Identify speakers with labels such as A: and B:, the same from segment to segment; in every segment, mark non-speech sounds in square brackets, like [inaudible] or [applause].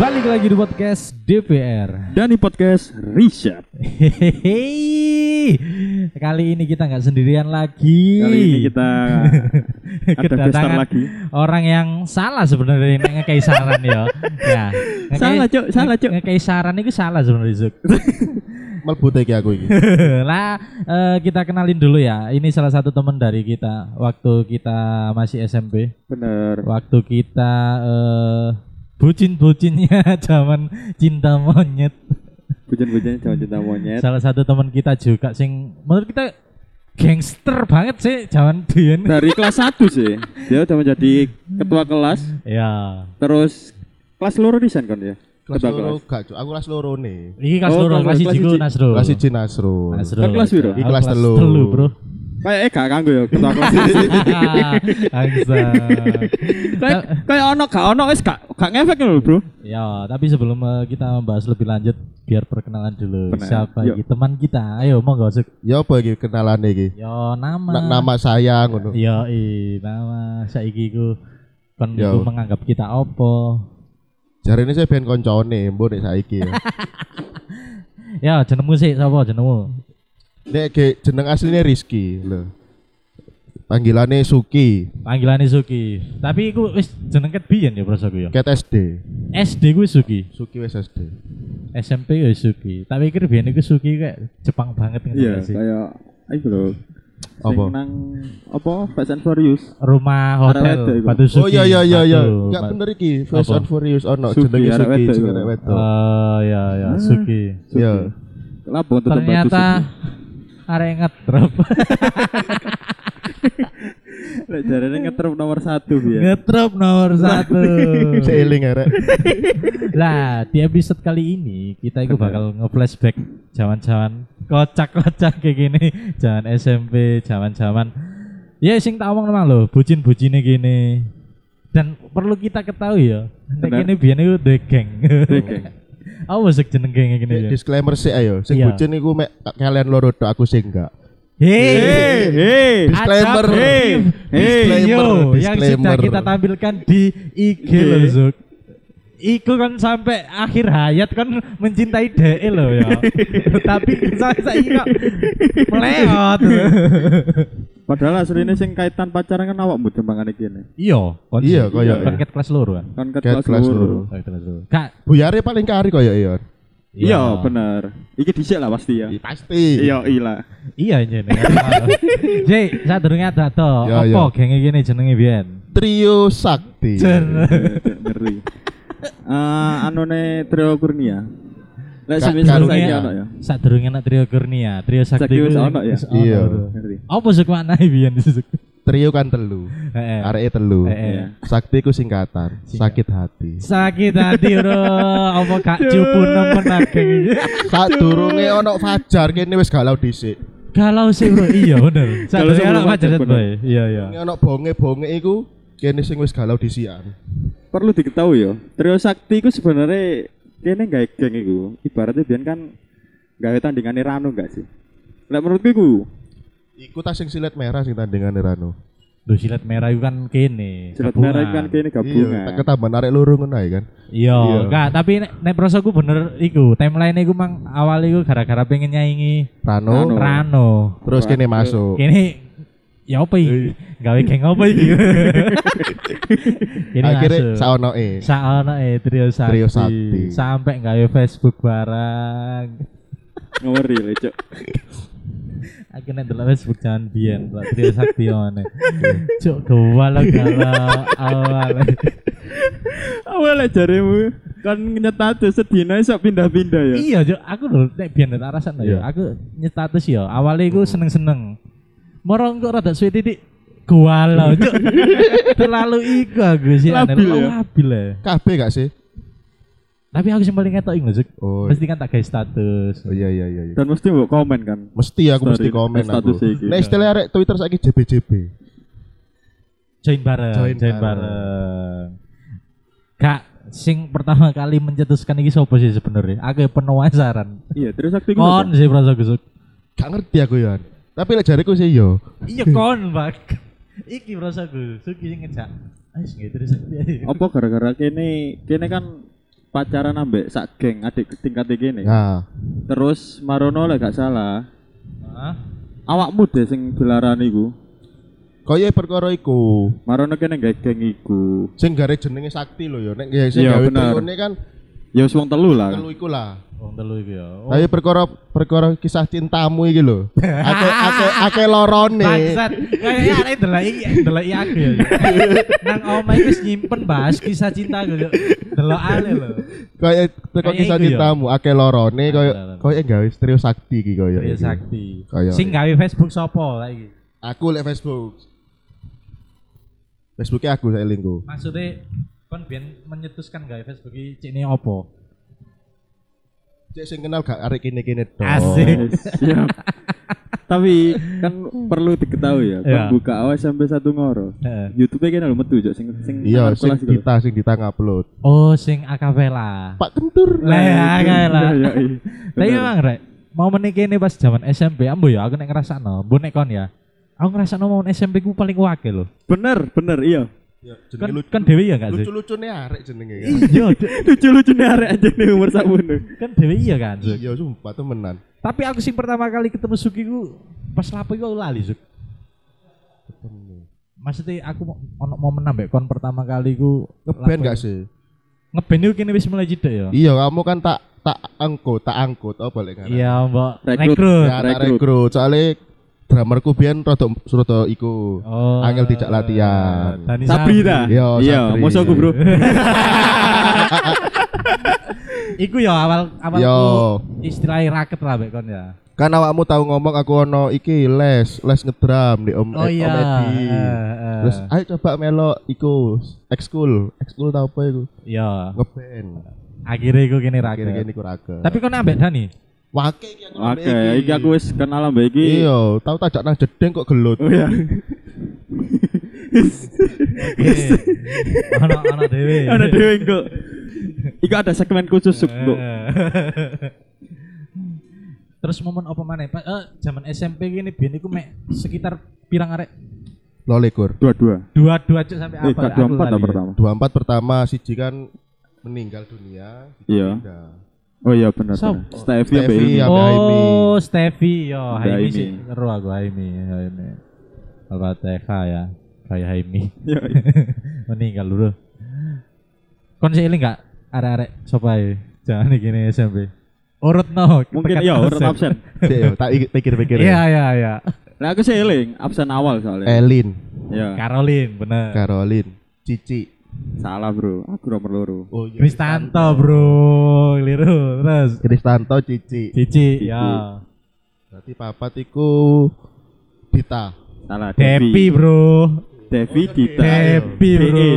A: Balik lagi di podcast DPR.
B: dan di podcast Riset.
A: Hehehe. Kali ini kita nggak sendirian lagi.
B: Kali ini
A: [laughs]
B: kita ada bestar lagi.
A: orang yang salah sebenarnya yang ngekaisaran ya. Ya. Ngekei-
B: [laughs] Salah, Cuk. Salah, Cuk.
A: Ngekaisaran itu salah sebenarnya, Cuk. [laughs]
C: melbu teki aku ini
A: lah eh, kita kenalin dulu ya. Ini salah satu teman dari kita waktu kita masih SMP.
B: Bener.
A: waktu kita eh bucin-bucinnya [laughs] zaman cinta monyet.
B: Bujan-bujan jangan cinta monyet.
A: Salah satu teman kita juga sing menurut kita gangster banget sih zaman biyen.
B: Dari kelas 1 sih. Dia udah menjadi ketua kelas.
A: ya.
B: Terus kelas loro desain kan dia.
C: kelas
B: Ketua
C: loro gak Cuk. aku kelas loro nih
A: Iki kelas
B: Oh,
A: loro, kelas
B: kelas- kelas
A: siji ku
B: siji.
A: Nasrul.
C: kelas siji Nasrul
A: Nasrul.
B: Kan kelas piro?
A: Aku
C: Iki kelas telu.
A: telu,
C: [laughs]
A: Bro.
B: Kayak eh gak kanggo ya ketua kelas.
A: Angsa.
B: Kayak kayak ono gak ono wis gak gak ngefek lho, Bro.
A: Ya, tapi sebelum eh, kita membahas lebih lanjut, biar perkenalan dulu
B: Perkenalan.
A: siapa
B: Yuk.
A: iki teman kita. Ayo monggo Suk.
C: ya apa iki kenalan iki
A: Yo nama.
C: Na- nama saya ngono
A: Iya, nama saiki ku kon
C: Yo.
A: iku menganggap kita opo.
C: jari ini saya pengen koncone mbok nek saiki ya
A: Ya, jenengmu sih sapa jenengmu?
C: nek ge- jeneng aslinya Rizky lho panggilannya Suki
A: Panggilannya Suki. Tapi iku wis jeneng ket biyen ya prasaku ya.
C: ket SD
A: SD ku wis Suki,
C: Suki wis SD
A: SMP ya wis Suki. Tak pikir biyen iku Suki kayak Jepang banget ngono
B: Iya,
A: gak sih.
B: kayak ayo lho. Sing
C: Apa?
B: nang apa Fast and Furious.
A: Rumah hotel
B: Arek wedok iku.
A: Batu Suki.
C: oh iya iya iya iya
A: Batu-
C: gak
A: Ba-
C: bener iki Fast
A: Apa?
C: and Furious ono
B: Suki,
C: jenenge
B: arek
C: Suki
B: wedok
C: jeneng
B: iku.
C: arek wedok
A: Oh iya iya Suki.
C: ya
B: Lapo untuk
A: Ternyata [laughs] arek ngetrop.
B: lek jarene ngetrop nomor ya. 1
C: Iya.
B: biar.
A: ngetrop nomor
C: Nah, [laughs]
A: satu.
C: seiling arek
A: Lah, di episode kali ini kita itu bakal nge-flashback jaman-jaman kocak-kocak kayak gini, jaman SMP, jaman-jaman. Ya sing tak omong emang lho, bucin-bucine gini. Dan perlu kita ketahui ya, nek
B: Benar.
A: ini biyen iku duwe geng.
B: Oke.
A: Apa sih jeneng geng gini ya?
C: disclaimer sih ayo sing
A: Iya.
C: bucin iku mek kalian loro tok aku sing enggak
A: Hei.
B: Hei, hei.
C: Disclaimer.
A: Ada
B: Hey, hey,
C: Disclaimer,
A: Yo, yang sudah
C: disclaimer.
A: kita tampilkan di IG
B: Oke.
A: loh, Zuk. Iku kan sampai akhir hayat kan mencintai DE loh [laughs] ya. Tapi saya saya kok meleot.
B: Padahal aslinya sing kaitan pacaran kan awak mbok dembangane kene.
A: Iya, kon-
C: Iya, koyo.
A: kon ket kelas loro kan.
B: Kan ket
C: Ket
B: kelas
C: kelas
A: Oh,
B: loro.
A: kelas loro. Kak.
C: buyare paling kari koyo iya
B: Iya, bener. Iki dhisik lah pasti ya.
C: pasti
B: Iya, iya.
A: Iya [laughs] jenenge. Jadi, saya durung ada to.
C: Iya,
A: Apa genge gini jenenge biyen?
C: trio sakti
B: Ngeri. Eh, anone Trio Kurnia. Lek
C: Ka-
B: semisal
C: karungnya-
B: saiki ono ya.
A: Sak durunge nak trio Kurnia, trio sakti.
B: Sakti
A: ku
B: wis
A: sing-
B: ono ya?
A: wis ono,
C: Iya.
A: bro.
B: Ngeri.
A: Apa sih maknane biyen Zuk?
C: trio kan telu
A: Heeh.
C: areke telu
A: Heeh.
B: Iya.
C: sakti ku singkatan
A: Eh. Singkat.
C: sakit hati
A: Sakit hati
B: [laughs]
A: bro, apa kak cupu nemen ageng iki.
C: saat durunge ono fajar kene wis galau dhisik
A: Nah. Galau sih bro, iya bener.
B: Galau
A: Satu
B: sih,
A: anak
B: bro,
A: macet
B: bener.
A: boy, iya iya.
C: ini ono bonge-bonge iku kene sing wis galau dhisikan
B: Perlu diketahui ya, Trio Sakti iku sebenarnya kene gawe geng iku. Ibaratnya biyen kan gawe tandingane Rano enggak sih? Lek menurutku iku
C: iku tas sing silet merah sing tandingane Rano
A: Duh silat merah itu kan kene.
B: Jerat
A: gabungan.
B: merah iku kan kene gabungan.
C: Iya, tak ketambahan arek loro ngono ae kan
A: Iya,
C: Iya.
A: enggak, tapi nek nek prosoku bener iku, timeline iku mang awal iku gara-gara pengen nyaingi
C: Rano
B: Rano.
A: Rano.
C: terus kene masuk
A: Kene ya apa
C: Iya.
A: iki? Gawe geng apa iki? [laughs] Kene
C: akhirnya
A: masuk.
C: saonoe
A: Saono eh trio sakti.
C: Trio Sakti.
A: Sampai gawe Facebook barang.
B: ngeri lho, Cuk.
A: Aku nek delok Facebook jangan biyen Pak Trio
C: Iya.
A: Saktione. Cuk galau galau awal.
B: Awalnya jarimu kan nyetat sedina sok pindah-pindah ya.
A: Iya, Cuk, aku lho nek biyen tak rasane ya.
C: Iya. Hmm.
A: Aku nyetatus ya. Awale iku seneng-seneng. Morong kok rada suwe titik galau,
C: [laughs]
A: Cuk. Terlalu iku aku sih aneh.
B: Labil ya?
A: labil ya.
C: kabeh gak sih
A: Tapi aku sing paling ngetok iku lho, Cuk.
C: oh
A: Mesti kan tak gawe status.
C: oh iya iya iya iya.
B: Dan mesti mbok komen kan.
C: mesti aku mesti
B: Story-
C: komen aku
B: status iki.
C: nah istilah arek Twitter saiki JBJB
A: Join bareng, join,
C: Join bareng.
A: bareng. Kak, sing pertama kali mencetuskan ini sopo sih sebenarnya? Aku ya penasaran.
B: Iya, Trio Sakti iku
A: kon sih prasa gusuk
C: gak ngerti aku ya tapi lek jariku sih yo
A: iya kon pak [laughs] iki prasa gusuk iki ngejak ayo sing terus
B: apa gara-gara kene kene kan pacaran ambek sak geng adik tingkat gini.
C: Nah,
B: Terus Marono lah gak salah.
A: Hah?
B: Awakmu deh sing dilarani iku.
C: kaya perkara iku.
B: Marono kene gak geng iku.
C: Sing gare jenenge sakti lho ya. Nek sing
B: Iya,
C: gawe
B: bener.
C: telune kan
B: Ya wis wong telu lah. [laughs]
C: telu iku lah.
A: Wong telu iku ya. Oh,
C: Tapi perkara perkara kisah cintamu iki lho. Ake ake ake lorone.
A: Bangsat. Kayaknya arek delaki delaki aku [laughs] ya. Nang omah wis nyimpen bahas kisah cinta gue. Delok ale lho.
C: Kaya
A: Kaya
C: teko
A: iku ya.
C: kisah
A: Nah,
C: cintamu ake lorone kaya
A: Lorone.
C: kaya gawe trio sakti iki kaya.
A: Ya
C: iki.
A: sakti.
C: Kaya
A: Sing gawe Facebook sopo lagi?
C: Aku lek Facebook. Facebooknya aku saya lingku.
A: Maksudnya kon biyen menyetuskan gawe Facebook iki cikne opo?
C: Cek sing kenal gak arek kene kene tok.
B: [laughs]
A: Asik.
B: Siap. Ya. Tapi kan perlu diketahui ya,
A: Iya.
B: pembuka awal sampai satu ngoro.
A: Heeh.
B: YouTube-nya kene lho metu Jok, sing sing
C: Iya,
B: nang
C: sing
B: kelas gitu. iku lho.
C: kita sing kita upload.
A: Oh, sing akapela.
C: Pak Kentur.
A: Lah ya, kae lah.
B: Iya, iya, iya.
A: Tapi
B: Bener.
A: memang rek, mau menikah ini pas zaman SMP, ambo ya, aku nek ngerasakno, bu nek kon ya. Aku ngerasakno mau SMP ku paling wake loh.
B: Bener, bener, iya. [laughs]
A: Kan kan dewe ya gak sih?
C: lucu-lucune arek jenenge kan.
A: Iya, de-
B: Lucu-lucu nih arek aja nih umur sakmono.
A: kan dewe iya kan. Zuk.
C: Iya, sumpah temenan.
A: Tapi aku sing pertama kali ketemu Suki ku pas lapo iku aku lali Suk.
C: Ketemu.
A: Maksudnya aku mau- ono mau menambah kon pertama kali ku
C: Ngeband
A: lapo-
C: gak sih?
A: Ngeband iku kene wis mulai jeda ya.
C: Iya, kamu kan tak tak angkut, tak angkut apa lek ngaran?
A: Iya, Mbak.
B: Rekrut.
A: Rekrut.
C: Ya, tak
B: rekrut.
C: rekrut. Soale dramerku biyen rada rada iku.
A: Oh.
C: Angel tidak latihan.
A: Dani
B: Sabri ta?
C: Iya,
B: Iya,
C: Sabri.
B: mosok aku,
C: [laughs]
B: Bro.
A: Iku ya awal awal
C: Yo.
A: istilahnya raket lah Mbak, kon ya.
C: Kan awakmu tahu ngomong aku ono iki les, les ngedram di Om
A: Oh
C: Ed-
A: iya.
C: Om Edi.
A: eh, eh.
C: Terus ayo coba melo iku ekskul, ekskul tau apa iku?
A: Iya.
C: Ngeband.
A: Akhirnya iku kene raket.
C: Gini-gini ku raket.
A: Tapi kon ambek Dani.
C: wake iki aku
B: Oke,
C: ambek
B: iki aku wis kenal mbak iki.
C: Iya, tau tajak nang jedeng kok gelut.
B: Oh iya.
A: Oke. Ono ono
B: [laughs]
A: dhewe.
B: Ana dhewe kok. Iku ada segmen khusus Suk,
A: Eh.
B: Bro.
A: [laughs] Terus momen apa mana? Pak, eh, zaman SMP gini, biar iku mek sekitar pirang arek
C: Lolikur.
B: Dua-dua.
A: dua dua cuk sampai
B: Eh,
A: apa? ya?
B: gak dua empat lah pertama.
C: 24 pertama siji kan meninggal dunia.
B: Iya.
C: Nah,
B: Oh iya benar.
A: Sob.
B: Stevie ambek ini.
C: Stevie ambek Haimi.
A: Oh, Stevie, yo
B: Ada
A: Haimi
B: Haimi.
A: sih, seru aku Haimi, Haimi. Apa TK ya, kayak Haimi. [laughs]
B: Iya.
A: Meninggal dulu. Kon sih eling gak arek-arek sopai jangan gini SMP. Urut no,
B: Mungkin
A: pekat [laughs]
B: iya, urut
A: absen.
B: absen.
C: Cek yo, tak ik- pikir-pikir. ya.
A: Iya, iya, iya.
B: Lah aku sih eling absen awal soalnya.
C: Elin,
B: Iya.
A: Caroline, bener.
C: Caroline, Cici.
B: Salah, Bro. Aku nomor loro.
C: Oh iya.
A: Kristanto bro, keliru terus.
C: Kristanto Cici.
A: Cici, ya.
C: Berarti papat iku Dita.
B: Salah
A: Depi bro,
B: Devi Dita.
A: Depi bro. E
B: DE.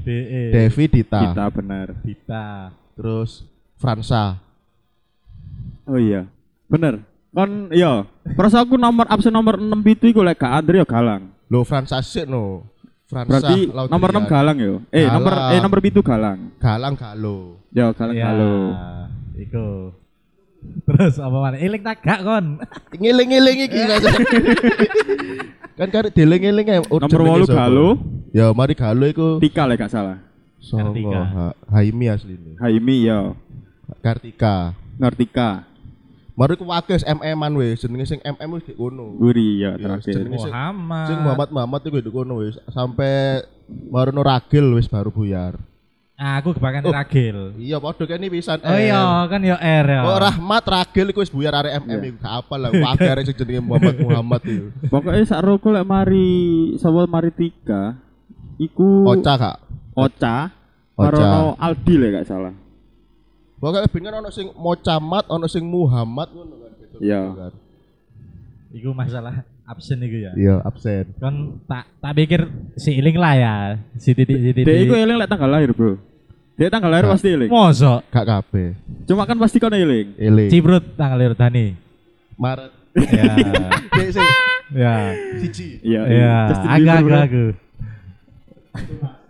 A: DE.
C: Devi Dita.
B: Dita benar.
A: Dita.
C: Terus Fransa.
B: Oh iya. Bener. Kon iya, Terus aku nomor absen nomor 6 itu iku lek gak Andre ya galang.
C: Lo Fransa sih no. Fransa
B: Berarti
C: Laudrian.
B: nomor 6 galang yo. Eh nomor eh
C: Galang.
B: nomor 7 galang.
C: Galang Galo.
B: Ya galang
A: Ya,
B: halo.
A: Iku. Terus apa mana? Eling tak gak kon?
C: Ngiling-ngiling iki
B: [laughs]
C: Mas. Kan karek dieling-eling ae.
A: Oh,
B: Nomor 8 galo,
C: Ya mari Galo iku
B: Tika lek gak salah.
C: sopo?
A: Kartika.
C: Ha- Haimi asline.
B: Haimi ya.
C: Kartika.
B: Nortika.
C: Mari ku wakil MM-an wis jenenge sing MM wis di kono.
B: Guri ya
C: Iya,
B: terakhir.
C: jenenge sing-
A: Muhammad.
C: Sing Muhammad Muhammad iku di kono wis sampe Marono Ragil wis baru buyar.
A: Ah, aku kebanyakan
C: Oh.
A: Ragil.
C: Iya padha kene pisan.
A: Oh
C: eh.
A: iya, kan yo R ya.
C: Kok Rahmat Ragil iku wis buyar arek MM iku gak apa lah wakil arek sing jenenge Muhammad Muhammad iku.
B: Pokoknya sak roko lek mari sawal mari Tika iku
C: Oca gak?
B: Oca.
C: Oca.
B: Marono Aldi lek gak salah.
C: Pokoke ben kan ono sing Mocamat, ono sing Muhammad ngono kan beda-beda
B: Iya.
C: kan.
A: Iku masalah absen iku ya.
C: Iya, absen.
A: Kon tak tak pikir si Eling lah ya. Si titik si titik.
B: Dia iku ya. eling lek tanggal lahir, Bro. Dia tanggal lahir pasti eling.
A: Mosok
C: Gak kabeh.
B: Cuma kan pasti kono eling.
C: Ele.
A: Ciprut tanggal lahir Dani.
C: Maret.
A: Ya.
C: Dek sing
A: Ya.
C: siji.
B: Iya. iya.
A: Ya,
B: Justin Bieber,
A: agak
B: bro.
A: aku.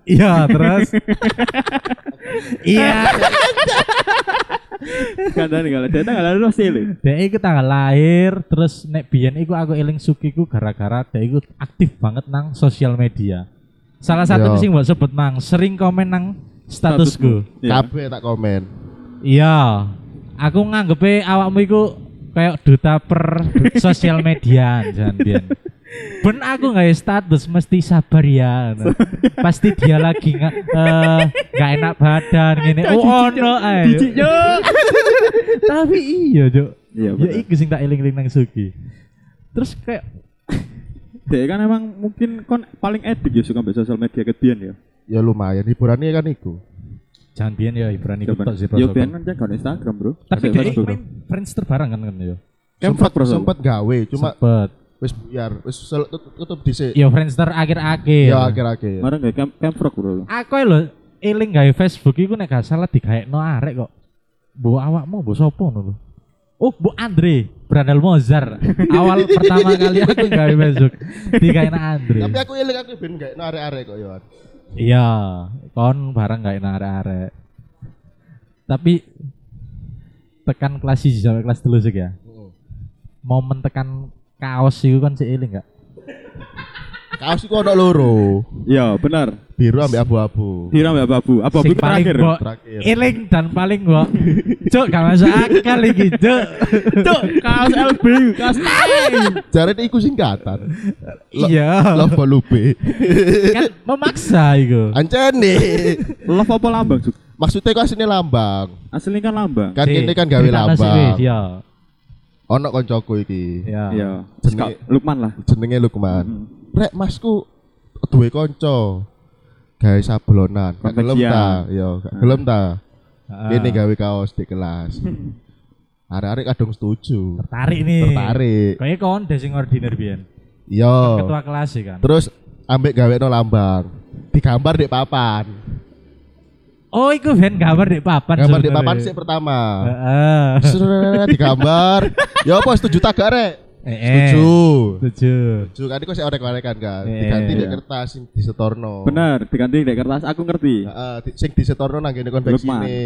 A: Iya, terus. Iya.
B: Kandani Kan kalau dia tanggal lahir pasti eling.
A: Dek iku tanggal lahir, terus nek biyen iku aku eling sukiku gara-gara dek iku aktif banget nang sosial media. Salah satu
C: Yo.
A: sing mbok sebut mang sering komen nang Iya. statusku.
B: Iya.
C: Kabeh tak komen.
A: Iya. Aku nganggepe awakmu iku kayak duta per sosial media jangan biyen. Ben aku nggak status mesti sabar ya. ngono. Pasti dia lagi nggak eh, nggak enak badan gini. Oh
B: Cok, jijik,
A: ono
B: Cok.
A: ae.
B: Jijik, Cok.
A: Tapi iya, Cuk.
B: Iya,
A: Ya
B: bener.
A: iku sing tak eling-eling nang Sugi. Terus kayak
B: Dek kan emang mungkin kon paling edik ya suka mbak sosial media kebian ya.
C: Ya lumayan hiburannya kan iku.
A: jangan biyen ya hiburan iku
B: Jaman-
A: tok sih
B: Ya
A: protokol.
B: biyen kan cek gak ada Instagram, Bro.
A: Tapi
B: Ada
A: dia
B: Facebook.
A: main Friendster bareng kan kan yo.
B: Kempot,
C: Sempat
B: Bro.
C: sempat gawe, cuma
A: Sempet.
C: wis buyar, wis sel- tut- tutup dhisik.
A: Yo Friendster akhir-akhir.
C: Ya akhir-akhir.
B: Marah gak camp camprok, Bro.
A: aku ya lho eling gawe Facebook iku nek gak salah digaekno arek kok. Mbok awakmu mbok sapa ngono lho. Oh, Bu Andre, Brandal Mozart. Awal pertama kali aku gawe Facebook digaekno Andre.
C: Tapi aku eling aku ben gak enak arek-arek kok ya.
A: Iya, kon barang gaekno arek-arek. Tapi tekan kelas 1 sampai kelas 3 sih ya.
C: Heeh.
A: Momen tekan kaos iku kan sik eling gak?
C: Kaos iku ono loro,
B: Iya, benar.
C: biru ambek abu-abu.
B: Tiram ya Babu. Apa
A: Sing
B: Babu
A: paling
B: terakhir? [laughs]
A: mbok
C: Terakhir.
A: eling dan paling mbok Cuk, gak masuk akal iki,
C: [laughs]
A: Cuk.
B: Cok, kaos LB, kaos
C: Jarene iku singkatan. Lo-
A: Iya,
C: Love Lupe.
A: kan memaksa itu.
C: Ancene.
B: Love apa lambang, Cuk?
C: Maksudnya kok aslinya lambang.
B: Aslinya kan lambang.
C: Kan ini kan gawe lambang.
A: Iya,
C: Ono koncoku iki.
A: iya. Mm-hmm.
B: Iya.
C: Jenenge-
B: Kak Lukman lah.
C: jenenge Lukman.
B: Hmm.
C: Rek masku duwe kanca gawe sablonan. Gak gelem
B: Konveksian.
C: ta, ya gak
A: Mm.
B: Ah.
C: gelem ta.
A: Ah,
C: Kene kan gawe kaos di
A: [laughs]
C: kelas. Arek-arek kadung setuju.
A: tertarik nih.
C: Tertarik. Oh.
A: Kayaknya kon deh sing ordiner biyen.
C: Yo.
A: Ketua kelas sih kan.
C: Terus ambek gawe no lambang. Digambar di papan.
A: Oh, iku ben gambar di papan.
C: Gambar di
A: sebenarnya.
C: papan sih
A: [laughs]
C: pertama.
A: Heeh.
C: Srrrrrrr, digambar. Ya apa setuju tak gak rek?
A: Eh, eh.
C: Setuju.
A: Setuju.
C: Setuju kan kok sik orek-orekan kan.
A: Eh,
C: Diganti di
B: iya.
C: kertas
A: Oh.
C: sing disetorno.
B: Benar, diganti dek kertas. Aku ngerti.
C: Heeh, di- sing disetorno nang kene konveksi
B: Lukman.
C: ini.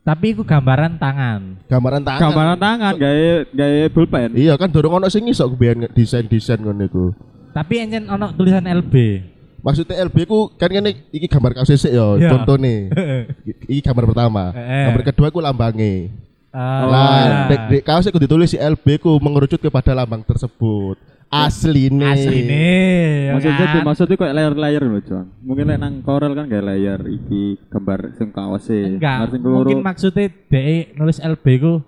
A: Tapi iku gambaran tangan.
C: Gambaran tangan.
B: Gambaran tangan, gawe gawe bulpen.
C: Iya kan dorong ono sing iso kebiyen desain-desain ngono iku.
A: Tapi encen ono tulisan LB.
C: Maksudnya LB ku kan ngene iki gambar kaos sik ya,
A: Iya.
C: contone.
A: [laughs] Heeh.
C: I- Iki gambar pertama.
A: Eh.
C: Gambar kedua ku lambange.
A: Ah,
C: Lah, dek dek kaos iku ditulis si LB ku mengerucut kepada lambang tersebut. Asline.
A: asli nih. ya
B: Maksudnya
A: kan?
B: maksudnya kok layer-layer loh, John. Mungkin lek nang Corel kan gak layer iki gambar sing kaos e.
A: Enggak,
B: Martin Keloro.
A: mungkin maksudnya DE nulis LB ku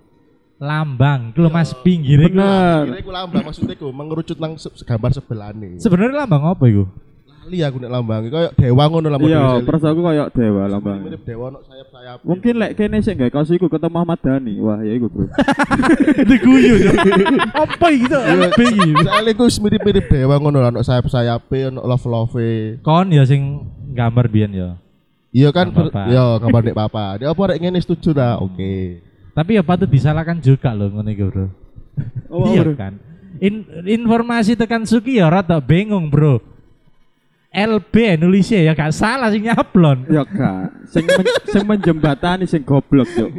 A: lambang, ku lho mas pinggir iku.
B: Benar.
C: Kira iku lambang maksudnya iku mengerucut nang se- gambar sebelane.
A: Sebenarnya lambang apa iku?
C: Lali aku nek lambange koyo dewa ngono lah
B: Iya,
C: modelnya.
B: pers aku koyo dewa lambang.
C: Mirip dewa ono sayap-sayap.
B: Mungkin lek kene sing gawe kaos iku ketemu Ahmad Dhani. Wah, ya iku, Bro.
A: Diguyu ya. [laughs] Apa iki to? LB iki.
C: Soalnya iku mirip-mirip dewa ngono lah ono sayap-sayape, ono love-love.
A: Kon ya sing gambar biyen ya.
C: Iya kan,
A: Gambar
C: per,
A: papan.
C: iya gambar dek papa. Dia apa rek ngene setuju lah, oke.
A: Tapi ya patut disalahkan juga loh ngono iku, Bro.
B: Oh,
A: iya
B: Bro.
A: kan. In- informasi tekan Suki ya rada bingung, Bro. LB nulisnya ya gak salah sing nyablon.
B: [laughs] Ya kak, sing, men sing menjembatani sing goblok [laughs] yuk.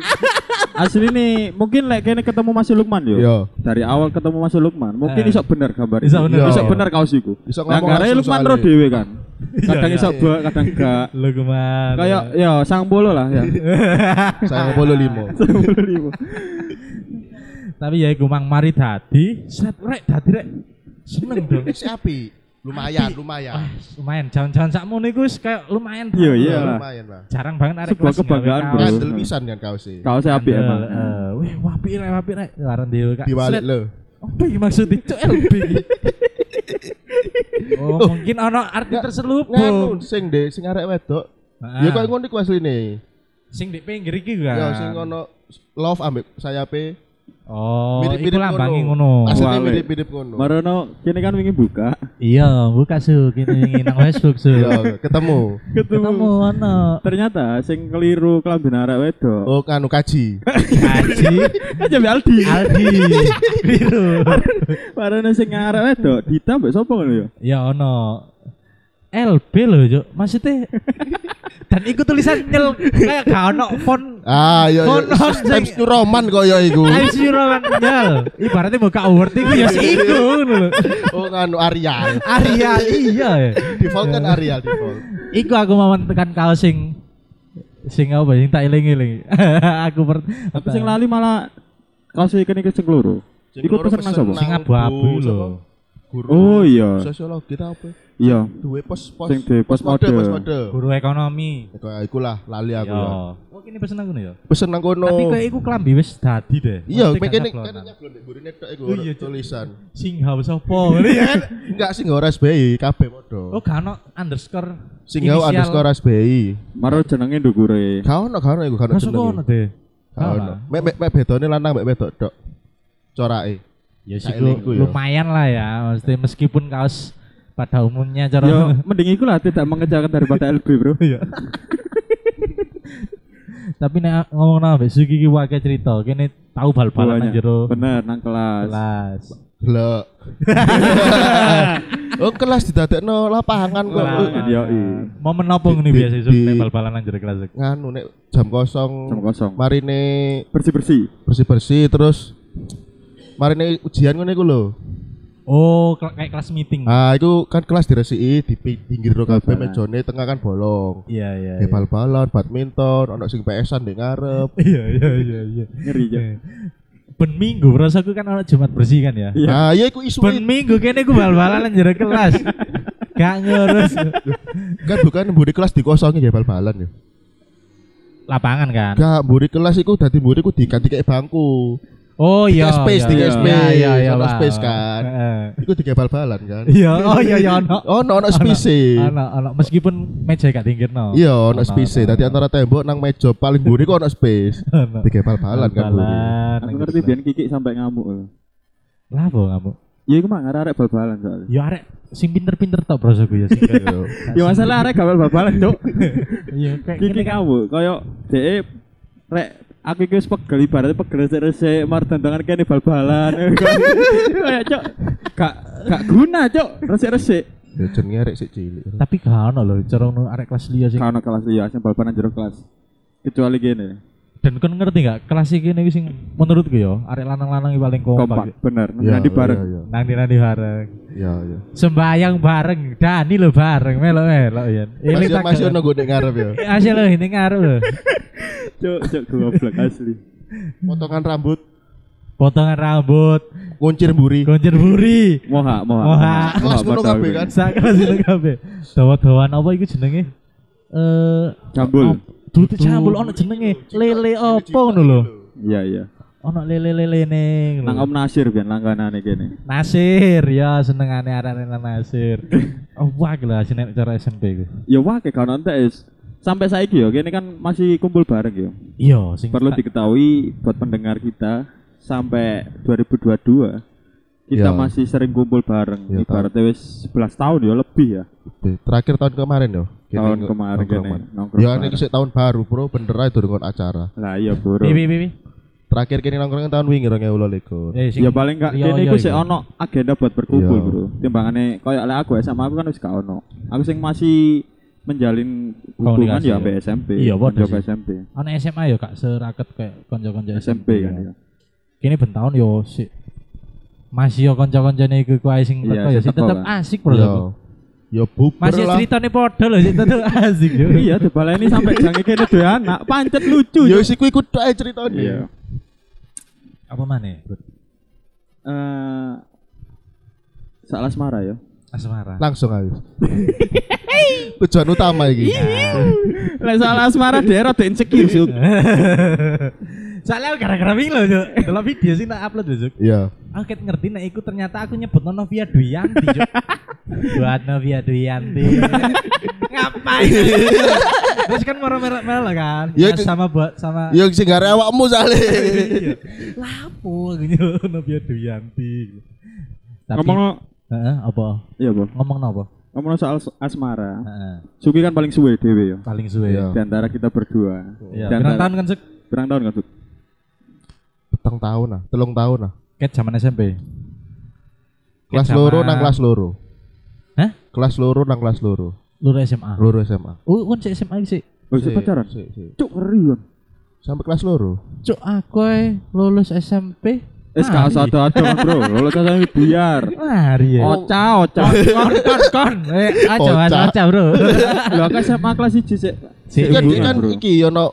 B: Asli nih, mungkin lek kene ketemu Mas Lukman yo.
C: Iya.
B: Dari awal ketemu Mas Lukman, mungkin
A: Eh.
B: iso bener gambar.
A: Iso bener.
B: iso
C: Iya.
B: bener kaos iku.
C: Iso
B: Nah,
C: ngomong
B: karena
C: langsung
B: Lukman
C: soalnya.
B: ro dhewe kan.
A: [laughs] Iya,
B: Kadang
A: iya.
B: iso buat, kadang gak.
A: Lho geman.
B: Kayak ya sang bolo lah
A: [laughs]
B: ya. [laughs]
C: Saya polo limo.
A: Tapi ya iku mang mari dadi, set rek dadi rek. Seneng dong.
C: Si api, lumayan, lumayan.
A: Ah, lumayan jalan-jalan sakmono iku wis kayak lumayan.
B: Iya, iya.
C: lumayan lah.
A: Jarang banget arek
B: Sebuah
A: kelas
B: kebanggaan,
A: nggawe
B: Bro.
A: kaos.
C: Ngandel pisan kan kau sih.
B: Kaosnya apik
A: Andel,
B: emang.
A: eh, Wih, wapi rek, wapi rek. Laran dhewe kak. Slet.
C: Diwalik lo.
A: Apa iki maksud itu LB? Oh, mungkin ono arti
C: Nggak,
A: terselubung.
C: Nganu sing de sing arek wedok.
A: Ah,
C: Ya kok ngono iku asline.
A: sing di pinggir iki kan.
C: Ya sing ngono love ambek sayape.
A: Oh, iku
C: Mirip-mirip
A: lambange
C: ngono.
A: ngono.
C: Asline
B: Walik.
C: mirip-mirip ngono.
B: Marono kini kan wingi buka.
A: Iya, buka su kene nang Facebook su.
C: Iya, ketemu.
A: Ketemu ono.
B: Ternyata sing keliru kelambi arek wedok.
C: Oh, kanu kaji.
A: Haji
B: Aja mbak Aldi.
A: Aldi biru
B: Marono sing arek wedok ditambah sapa ngono ya?
A: ya ono LB loh Cuk. maksudnya dan iku tulisan nyel kayak gak ono font
C: Ah, iya.
A: Kono
C: iya.
A: sing-
C: Times New Roman koyo
A: [laughs]
C: iku.
A: Times New Roman nyel ibaratnya buka Word itu ya sih iku ngono lho.
C: Oh, nganu Arial. [laughs]
A: Arya [laughs] iya ya. [laughs]
C: Default kan Arial default.
A: iku aku mau tekan kaos sing sing apa ya? sing tak eling-eling. [laughs] aku per
B: Tapi sing lali malah kaos ikan iki sing loro. Iku pesenan sapa?
A: Sing abu-abu lho.
C: Guru.
B: Oh iya.
C: Sosiolog kita apa?
B: Iya,
C: Duwe pos-pos.
B: sing di pos
C: Pos-mode,
B: mode.
C: pos-mode.
A: guru ekonomi.
C: Iku iku lah lali aku.
A: Yo.
C: ya.
A: Oh kene pesen aku nih ya.
C: Pesen nang kono.
A: Tapi kayak iku klambi wis dadi deh. Mesti gak
C: Iya, makanya
A: cablonan.
C: kan nyablon di gurine tok iku
A: Oh, iya, Cuk.
C: tulisan.
A: sing hawa sapa? [laughs] Ngene ya kan.
C: Enggak sih enggak RSBI, kabeh podo.
A: Oh gak ono underscore.
C: Singgah
A: inisial.
C: underscore RSBI.
B: Maro jenenge ndukure.
C: Gak ono, gak ono iku gak ono
A: Masuk ono
C: jenenge.
A: deh. Ah.
C: Gak
A: Gak
C: ono.
A: lah.
C: Mek mek mek bedone lanang mek wedok tok. Corake.
A: Ya sih
C: Kayak lingku ya.
A: lumayan lah ya. Maksudnya meskipun kaos pada umumnya cara [laughs]
B: Yo, mending iku lah tidak mengejarkan daripada LB, Bro.
A: Iya. Tapi nek ngomong nang mbek Sugi iki wae cerita, kene tahu bal-balan nang
B: Banyak.
A: jero
B: Bener, nang kelas.
A: kelas. [laughs]
C: Delok. oh kelas didadekno lapangan kok.
B: Lapangan. iya, iya.
A: Momen opo ngene
C: Di-
A: biasa
C: di-
A: Sugi nek
C: di-
A: bal-balan nang jero kelas. Sug?
C: Nganu nek jam kosong.
B: Jam kosong.
C: Marine
B: Bersih-bersih.
C: bersih-bersih terus marine ujian ngene iku lho.
A: Oh, kel- kayak kelas meeting.
C: Ah, itu kan kelas diresiki di pi- pinggir ro kabeh
B: Bal-balan.
C: mejone tengah kan bolong.
A: Iya, iya.
C: Di
A: iya.
C: bal-balan, badminton, ono sing PS-an di ngarep.
A: Iya, iya, iya, iya.
B: Ngeri ya.
A: Ben minggu rasaku kan ana Jumat bersih kan ya.
B: Iya.
C: Nah, ya iku isu
A: Ben minggu kene ku bal-balan nang jero kelas. Gak ngurus
C: kan bukan mburi kelas dikosongin ya
A: Iya.
C: bal-balan ya.
A: lapangan kan.
C: Enggak, mburi kelas iku dadi mburi ku diganti kayak bangku.
A: Oh iya.
C: Tiga space,
A: iya,
C: tiga
A: iya,
C: space,
A: Iya, iya,
C: satu
A: Pak.
C: space kan.
A: Heeh.
C: Iku tiga bal-balan kan.
A: Iya, oh iya iya ono.
C: Oh, ono ono spise.
A: Ono ono meskipun meja gak tingkirno.
C: Iya, ono spise. Dadi antara tembok nang meja paling mburi ku ono
A: [laughs]
C: space.
A: Ono.
C: Tiga bal-balan kan mburi.
A: Bal-balan.
B: Aku ngerti biyen kikik sampai ngamuk.
A: gitu. Lah apa kamu?
B: Ya iku mah ngarep bal-balan soalnya.
A: Ya arek sing pinter-pinter tok bro gue ya sing.
C: [laughs]
B: Ya
C: Iya.
B: masalah arek gawel bal-balan, Cuk.
A: Iya kayak
B: Kiki
A: gini kan.
B: kamu, koyo dhek rek aku iki wis pegel ibaratnya pegel resik-resik mar dandangan
A: [laughs]
B: kene bal-balan. Kayak Cuk, gak gak guna, Cuk. Resik-resik.
C: Ya jenenge arek sik cilik.
A: Tapi gak ono lho cara ngono arek kelas liya sing.
B: Kalau kelas iya, sing bal-balan jero kelas. Kecuali gini,
A: Dan kan ngerti gak kelas iki nih sing menurutku ya arek lanang-lanang iki paling kompak.
B: kompak, bener.
A: Ya,
C: Iya,
B: Nanti bareng.
C: iya,
A: Nang di nang di bareng.
C: Iya, iya.
A: Sembayang bareng, Dani lo bareng, melo-melo ya. Ini
C: Masih
A: tak
C: masih ono gue ngarep ya.
A: Asih lo ini ngaruh lo.
B: Cuk, cuk goblok asli.
C: Potongan rambut,
A: Potongan rambut,
C: kuncir mburi.
A: gonjer buri.
B: Moha, moha.
A: Moha.
C: Kelas ngono
B: padahal
C: kabeh
B: gue.
C: kan?
A: Sakra sih kabeh. [laughs] Dawa-dawaan apa iku jenenge? Eh
B: Jambul.
A: dudu jambul ono jenenge lele apa ngono lho.
B: Iya, iya.
A: Ono lele-lelene
B: Nang Om Nasir biyen langganane kene.
A: Nasir ya senengane arane nang
B: [laughs]
A: Nasir. Oh, Wah gila sih nek cara SMP iku.
B: Ya wah kayak kawan es. Sampai saiki ya, kene kan masih kumpul bareng ya.
A: Iya sing
C: Nah.
B: Perlu diketahui buat pendengar kita sampai 2022 kita
C: Ya.
B: masih sering kumpul bareng.
C: Ya,
B: Ibaratnya wis 11 tahun ya lebih ya.
C: Terakhir tahun kemarin yo. Kene
B: Tahun
C: nge-
B: kemarin
C: nongkrong
B: kene,
C: bareng.
B: nongkrong
C: Ya
B: bareng.
C: ini sik tahun baru, Bro. Bener ae durung kon acara.
B: Lah iya bro.
A: Bi bi bi. bi.
C: Terakhir kene nongkrong tahun wingi 2021.
A: Eh, sing-
B: Ya paling enggak
A: Iya,
B: kene
A: iya,
B: iku sik
A: iya.
B: ono agenda buat berkumpul,
C: Iya.
B: Bro. Timbangane koyo lek aku SMA aku kan wis gak ono. Aku sing masih menjalin hubungan
A: Komunikasi, ya.
B: ya sampai SMP.
A: Iya, padha
B: Menjaga
A: sih.
B: SMP.
A: Ono SMA yo kak ya, seraket kayak konco-konco
B: SMP kan. ya.
A: kini bentahun yo si masih yo kanca-kancane iku kuwi sing
B: Iya,
A: teko yo
B: sing
A: sing
B: teko
A: tetep
B: kan.
A: asik bro.
C: Yo. Yo Iya. Ya, bubar
A: Masih
C: lah.
A: ceritane padha lho [laughs] sing tetep asik yo.
B: Iya, debala ini sampai jange kene dhewe anak, pancet lucu.
C: Yo
B: Cuk.
C: sik kuwi kudu ae ceritane.
B: Iya.
A: Apa maneh? Bud?
B: Eh Salah asmara [laughs] ya.
A: Asmara.
C: Langsung ae. [laughs] Tujuan utama iki.
B: Lek salah asmara dhewe rada insecure, Cuk.
A: Soalnya gara-gara ming lho, Cuk. Delok video sih tak upload lho, Cuk.
C: Iya.
A: Aku ket ngerti nek iku ternyata aku nyebut Novia Duyanti, Cuk. [laughs] Buat Novia Duyanti. [laughs] Ngapain? Terus kan merah-merah melo kan.
C: Iya,
A: Ya,
C: Cuk.
A: sama buat sama
C: Yo Ya, sing gare awakmu sale.
A: [laughs] Iya. Lapo gitu Novia Duyanti. Tapi ngomong
B: Ngomong
A: apa?
B: iya, Bro.
A: Ngomong apa?
B: Ngomong soal asmara.
A: Heeh.
B: Suki kan paling suwe dhewe ya.
A: Paling suwe.
C: Iya.
B: Di antara kita berdua.
A: Iya.
B: Di
A: Pirang
B: antara-
A: tahun kan sek
B: Pirang tahun kan, Cuk?
C: Petang tahun lah, telung tahun lah.
A: ket zaman SMP.
C: Kelas
A: Ket
C: loro
A: zaman-
C: nang kelas loro.
A: Ya, Hah?
C: Kelas loro nang kelas loro.
A: Lur SMA.
C: Loro SMA.
A: Oh, kan sik SMA sih.
B: Oh, sik pacaran.
C: Sik, sik.
B: Cuk, ngeri kan.
C: Sampai kelas loro.
A: Cuk, aku eh, lulus SMP.
B: SKS
A: Mari.
B: ada ada [laughs] bro, lulus saya buyar.
A: Mari ya.
C: Oh.
B: Oca
A: [laughs]
B: oca.
C: [laughs]
A: kon kon kon. Eh, aja
C: Kocak. [laughs]
A: aja, Bro.
B: Lah kan SMA kelas 1 sik
A: Si
C: Iki kan
A: ibu-
C: iki kan
B: Bro.
C: iki ono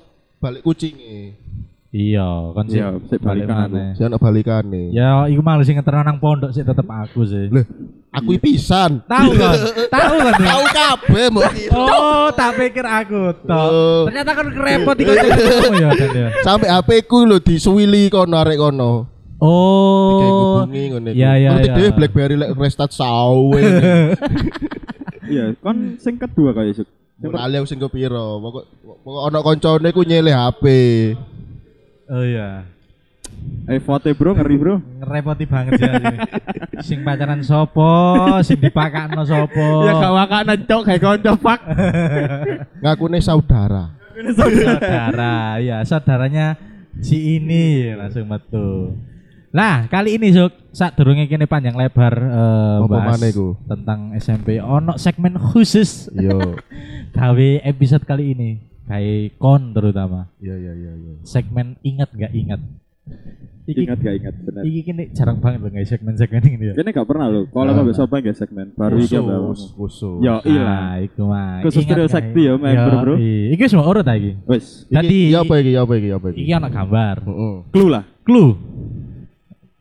C: balik kucinge.
A: Iya, kan sih.
B: Iya, sik balikan aku.
A: maneh.
C: Si ono balikane.
A: Ya, iku malah sing ngeterno nang pondok sih tetep aku sih.
C: Lho, aku iki pisan.
A: Tahu
C: [laughs]
A: kan? Tahu kan?
C: Tahu kabeh mbok kira.
A: Oh, tak pikir aku
C: Oh.
A: toh. Ternyata kan kerepot
C: [laughs]
A: iku kamu ya. Dan, ya.
C: Sampai HP ku lho disuwili kono arek kono. Kayak
A: Oh.
C: hubungi ngono iku.
A: Iya, iya,
C: Ngerti
A: iya.
C: dhewe BlackBerry lek restart
A: [laughs]
C: sawe.
B: Iya, kon sing kedua kaya sik. Sing per-
C: Lali aku sing kepiro. Pokok pokok ono koncone ku nyilih HP.
A: Oh iya.
B: Eh, vote bro ngeri bro.
A: Ngerepoti banget sih.
C: [laughs]
A: asli. sing pacaran sopo, sing dipakakno sopo.
C: Ya,
B: makanan cok, kayak konco pak.
C: Ngakune saudara.
A: saudara ya saudaranya si ini langsung metu nah kali ini Suk saat durungnya kini panjang lebar eh,
C: Apa
A: bahas
C: maneh iku?
A: tentang SMP ono segmen khusus
C: Yo.
A: [laughs] gawe episode kali ini kayak kon terutama
C: Iya iya iya iya.
A: segmen ingat gak ingat iki,
B: Ingat gak ingat bener.
A: iki kini jarang banget loh guys segmen-segmen ini ya
B: Kene gak pernah lho. Kalau
C: Nah.
B: sampe sopan gak segmen baru iki apa?
C: Khusus, khusus.
B: Ya
A: Ah,
B: iya.
A: iku mah
B: Khusus
A: Ingat
B: Trio
A: gak
B: Sakti ya,
A: ingat?
B: member, bro.
A: Yoi. iki semua urut ah, iki
B: Wes,
C: Iki-
A: Tadi-
C: iya apa iki? Iya apa iki? Iya apa iki?
A: iki ono gambar
C: Heeh.
B: clue lah.
A: clue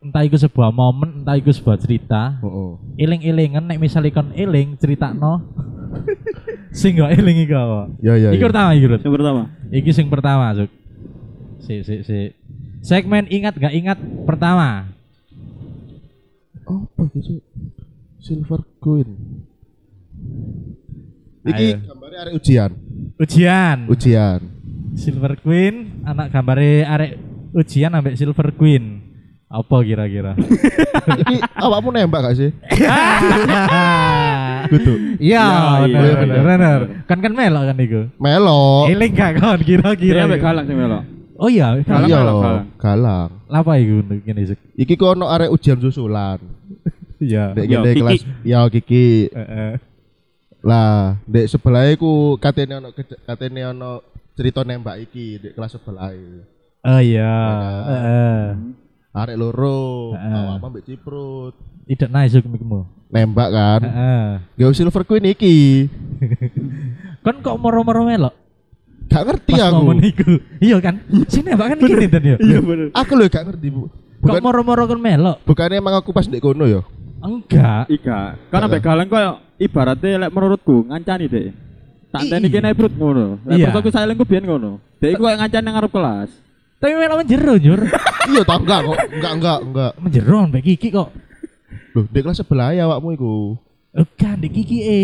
A: entah itu sebuah momen entah itu sebuah cerita
C: Heeh.
A: eling-elingan nek misalnya kon eling critakno
B: [laughs]
A: sing gak eling iku apa
C: Ya ya.
A: iku pertama iku Rut.
B: Yang pertama.
A: iki sing pertama Suk si si si segmen ingat gak ingat pertama
C: Apa gitu? Silver coin.
A: Ayo.
C: Iki gambarnya arek ujian.
A: ujian
C: Ujian.
A: silver queen anak gambare arek ujian ambek silver queen apa kira-kira
C: Iki awakmu nembak gak
A: [laughs]
C: sih? Gitu.
A: Iya,
B: iya,
A: bener,
C: bener.
A: bener, bener. Kan kan melok kan iku.
C: Melo.
A: Eling gak kon
B: Kira
A: kira-kira.
B: sampe
A: iku?
B: galang sing melok.
A: Oh iya,
B: Galang,
C: Iya,
B: galang, galang.
C: galang.
A: apa iku ngene sik.
C: Iki kono arek ujian susulan.
A: Iya. Eh,
C: Dek
B: Yo,
C: gede
B: Kiki.
C: kelas ya Kiki.
A: Heeh.
C: Lah, dek sebelah iku katene ono kece- katene ono cerita nembak iki dek kelas sebelah.
A: Oh iya. eh. Heeh.
C: Arek loro,
A: Heeh.
C: awakmu mbek ciprut.
A: Tidak naik Eh, sik mikmu.
C: Nembak kan.
A: Heeh.
C: Yo Silver Queen iki.
A: Kon Kan kok moro-moro melok?
C: Gak ngerti
A: Pas
C: aku.
A: momen iku. Iya kan? Sini Pak kan gini dan ya.
B: Iya bener.
C: Aku lho gak ngerti, Bu.
A: Kok
C: Bukan
A: moro-moro kon melok?
C: bukannya emang aku pas ndek kono ya.
A: Enggak.
B: Iga. Karena sampe galang koyo ibaratnya lek menurutku ngancani deh. Tak teni
A: Iya.
B: kene brut ngono. Lek
A: Iya.
B: persoku saling ku biyen ngono. Dek iku kayak ngancani nang ngarep kelas.
A: Tapi melok menjero nyur.
C: iya tau enggak kok. Enggak enggak enggak.
A: Menjero mbek Kiki kok.
C: Loh, ndek kelas sebelah ya awakmu iku.
A: Eh, Kan di Kiki e.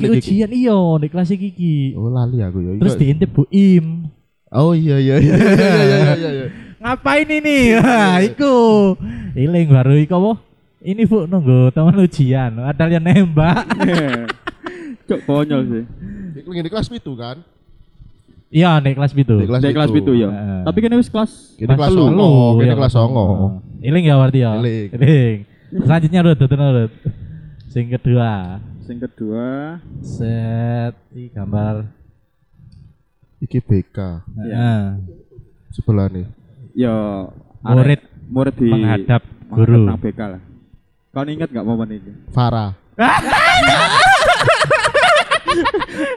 A: Kiki
C: ndek Kiki.
A: ujian iya di kelas Kiki.
C: Oh lali aku ya.
A: Terus diintip Bu Im.
C: Oh iya iya
A: [laughs]
C: iya iya iya iya iya. iya.
A: ngapain ini [laughs] Wah, iku iling iya. baru iku apa ini bu nunggu teman ujian ada yang nembak
B: Cok konyol sih.
C: Ndek ndek kelas itu kan.
A: [laughs] iya nek kelas itu
C: Ndek
B: Dek kelas itu
C: pitu.
B: ya.
A: Heeh. Gitu.
B: Tapi kene wis kelas
C: Kene kelas songo, kene kelas songo.
A: ya. iling ya berarti ya
C: Iling.
A: iling selanjutnya Rut Rut Rut sing kedua
B: sing kedua.
A: set i gambar Nah.
C: Iki BK
A: Heeh.
C: sebelah nih.
B: Ya arek-
A: murid
B: murid di
A: menghadap
B: menghadap
A: guru
B: nang BK lah. Kau inget gak momen itu?
C: Farah.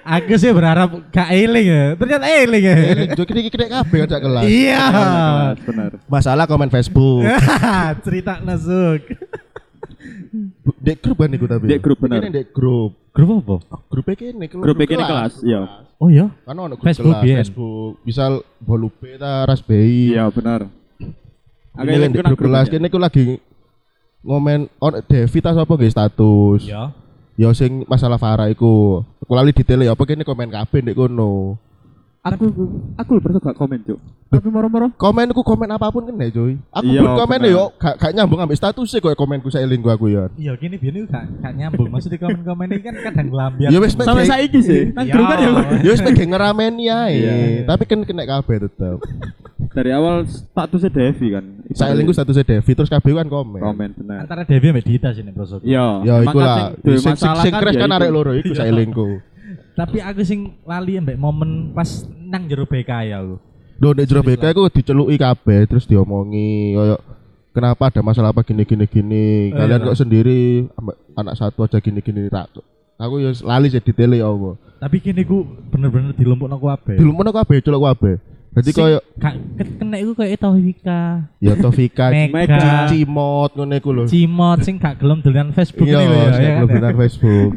A: aku sih ya berharap gak iling ya ternyata iling ya
C: Eh, Jok iki kene kabeh kan kelas.
A: iya
B: Kelas, Benar.
C: Masalah komen Facebook.
A: Eh. [laughs] cerita nasuk
C: Bu- Ndek grup kan iku tapi.
B: Ndek grup, bener.
C: Iki Ndek grup.
A: grup apa
C: Grup iki kene kelas.
B: Grup iki ini kelas, iya.
A: oh iya
C: Kan ono grup
A: Facebook, iya.
C: kelas
A: biyen.
C: Facebook. Misal Bolupe ta Rasbei.
B: Iya benar. Agak
C: Ini
B: yang
C: kan di grup kelas kene ku lagi ngomen on Devi ta sapa nggih status.
A: iya
C: Ya sing masalah Farah iku. Aku lali detail ya apa kene komen kabeh ndek kono.
B: Aku aku lu perso gak komen cuk. Tapi moro-moro.
C: Komen ku komen apapun kene coy. Aku
B: Iya,
C: pun komen
B: bener.
C: yo gak gak nyambung ambek status e koyo komenku saeling ku aku ya.
A: Iya gini biar gak, gak nyambung Maksudnya komen-komen ini kan kadang gelambian
B: Iya.
C: Ya wis mek
B: Sampai
C: ya
B: saiki sih. Nang grup kan ya.
C: wis mek gak ngerameni
B: Iya.
C: ae. Tapi kan kena kabeh tetep.
B: Dari awal statusnya Devi kan.
C: Saeling ku statusnya Devi terus kabeh kan komen.
B: komen benar.
A: Antara Dewi sama Dita sih nih bro
B: Iya.
C: Ya
B: emang
C: iku
B: kan
C: lah.
B: sing duwe
C: Sing sing-
B: masalah
C: sing crash kan
B: ya
C: arek
B: iku.
C: loro iku saelingku.
A: Tapi aku sing lali mbak momen pas nang jero BK ya aku
C: Loh nek jero BK iku diceluki kabeh terus diomongi koyo kenapa ada masalah apa gini gini
A: Eh,
C: gini. Kalian
A: iya.
C: kok sendiri amb- anak satu aja gini gini tak aku yo lali ya jadi tele apa.
A: Tapi kene ku bener-bener dilompokno kabeh.
C: Dilumpuno kabeh celok kabeh. Dadi
A: Sing
C: koyo
A: ka- ke- kena iku kayak Tauhika,
C: ya Taufika
A: Mega,
C: Cimot ngene iku lho.
A: Cimot sing gak gelem dolan Facebook
C: Iya,
A: ini lho ya.
C: saya
A: ya
C: belum
A: kan?
C: benar
A: [laughs]
C: Facebook.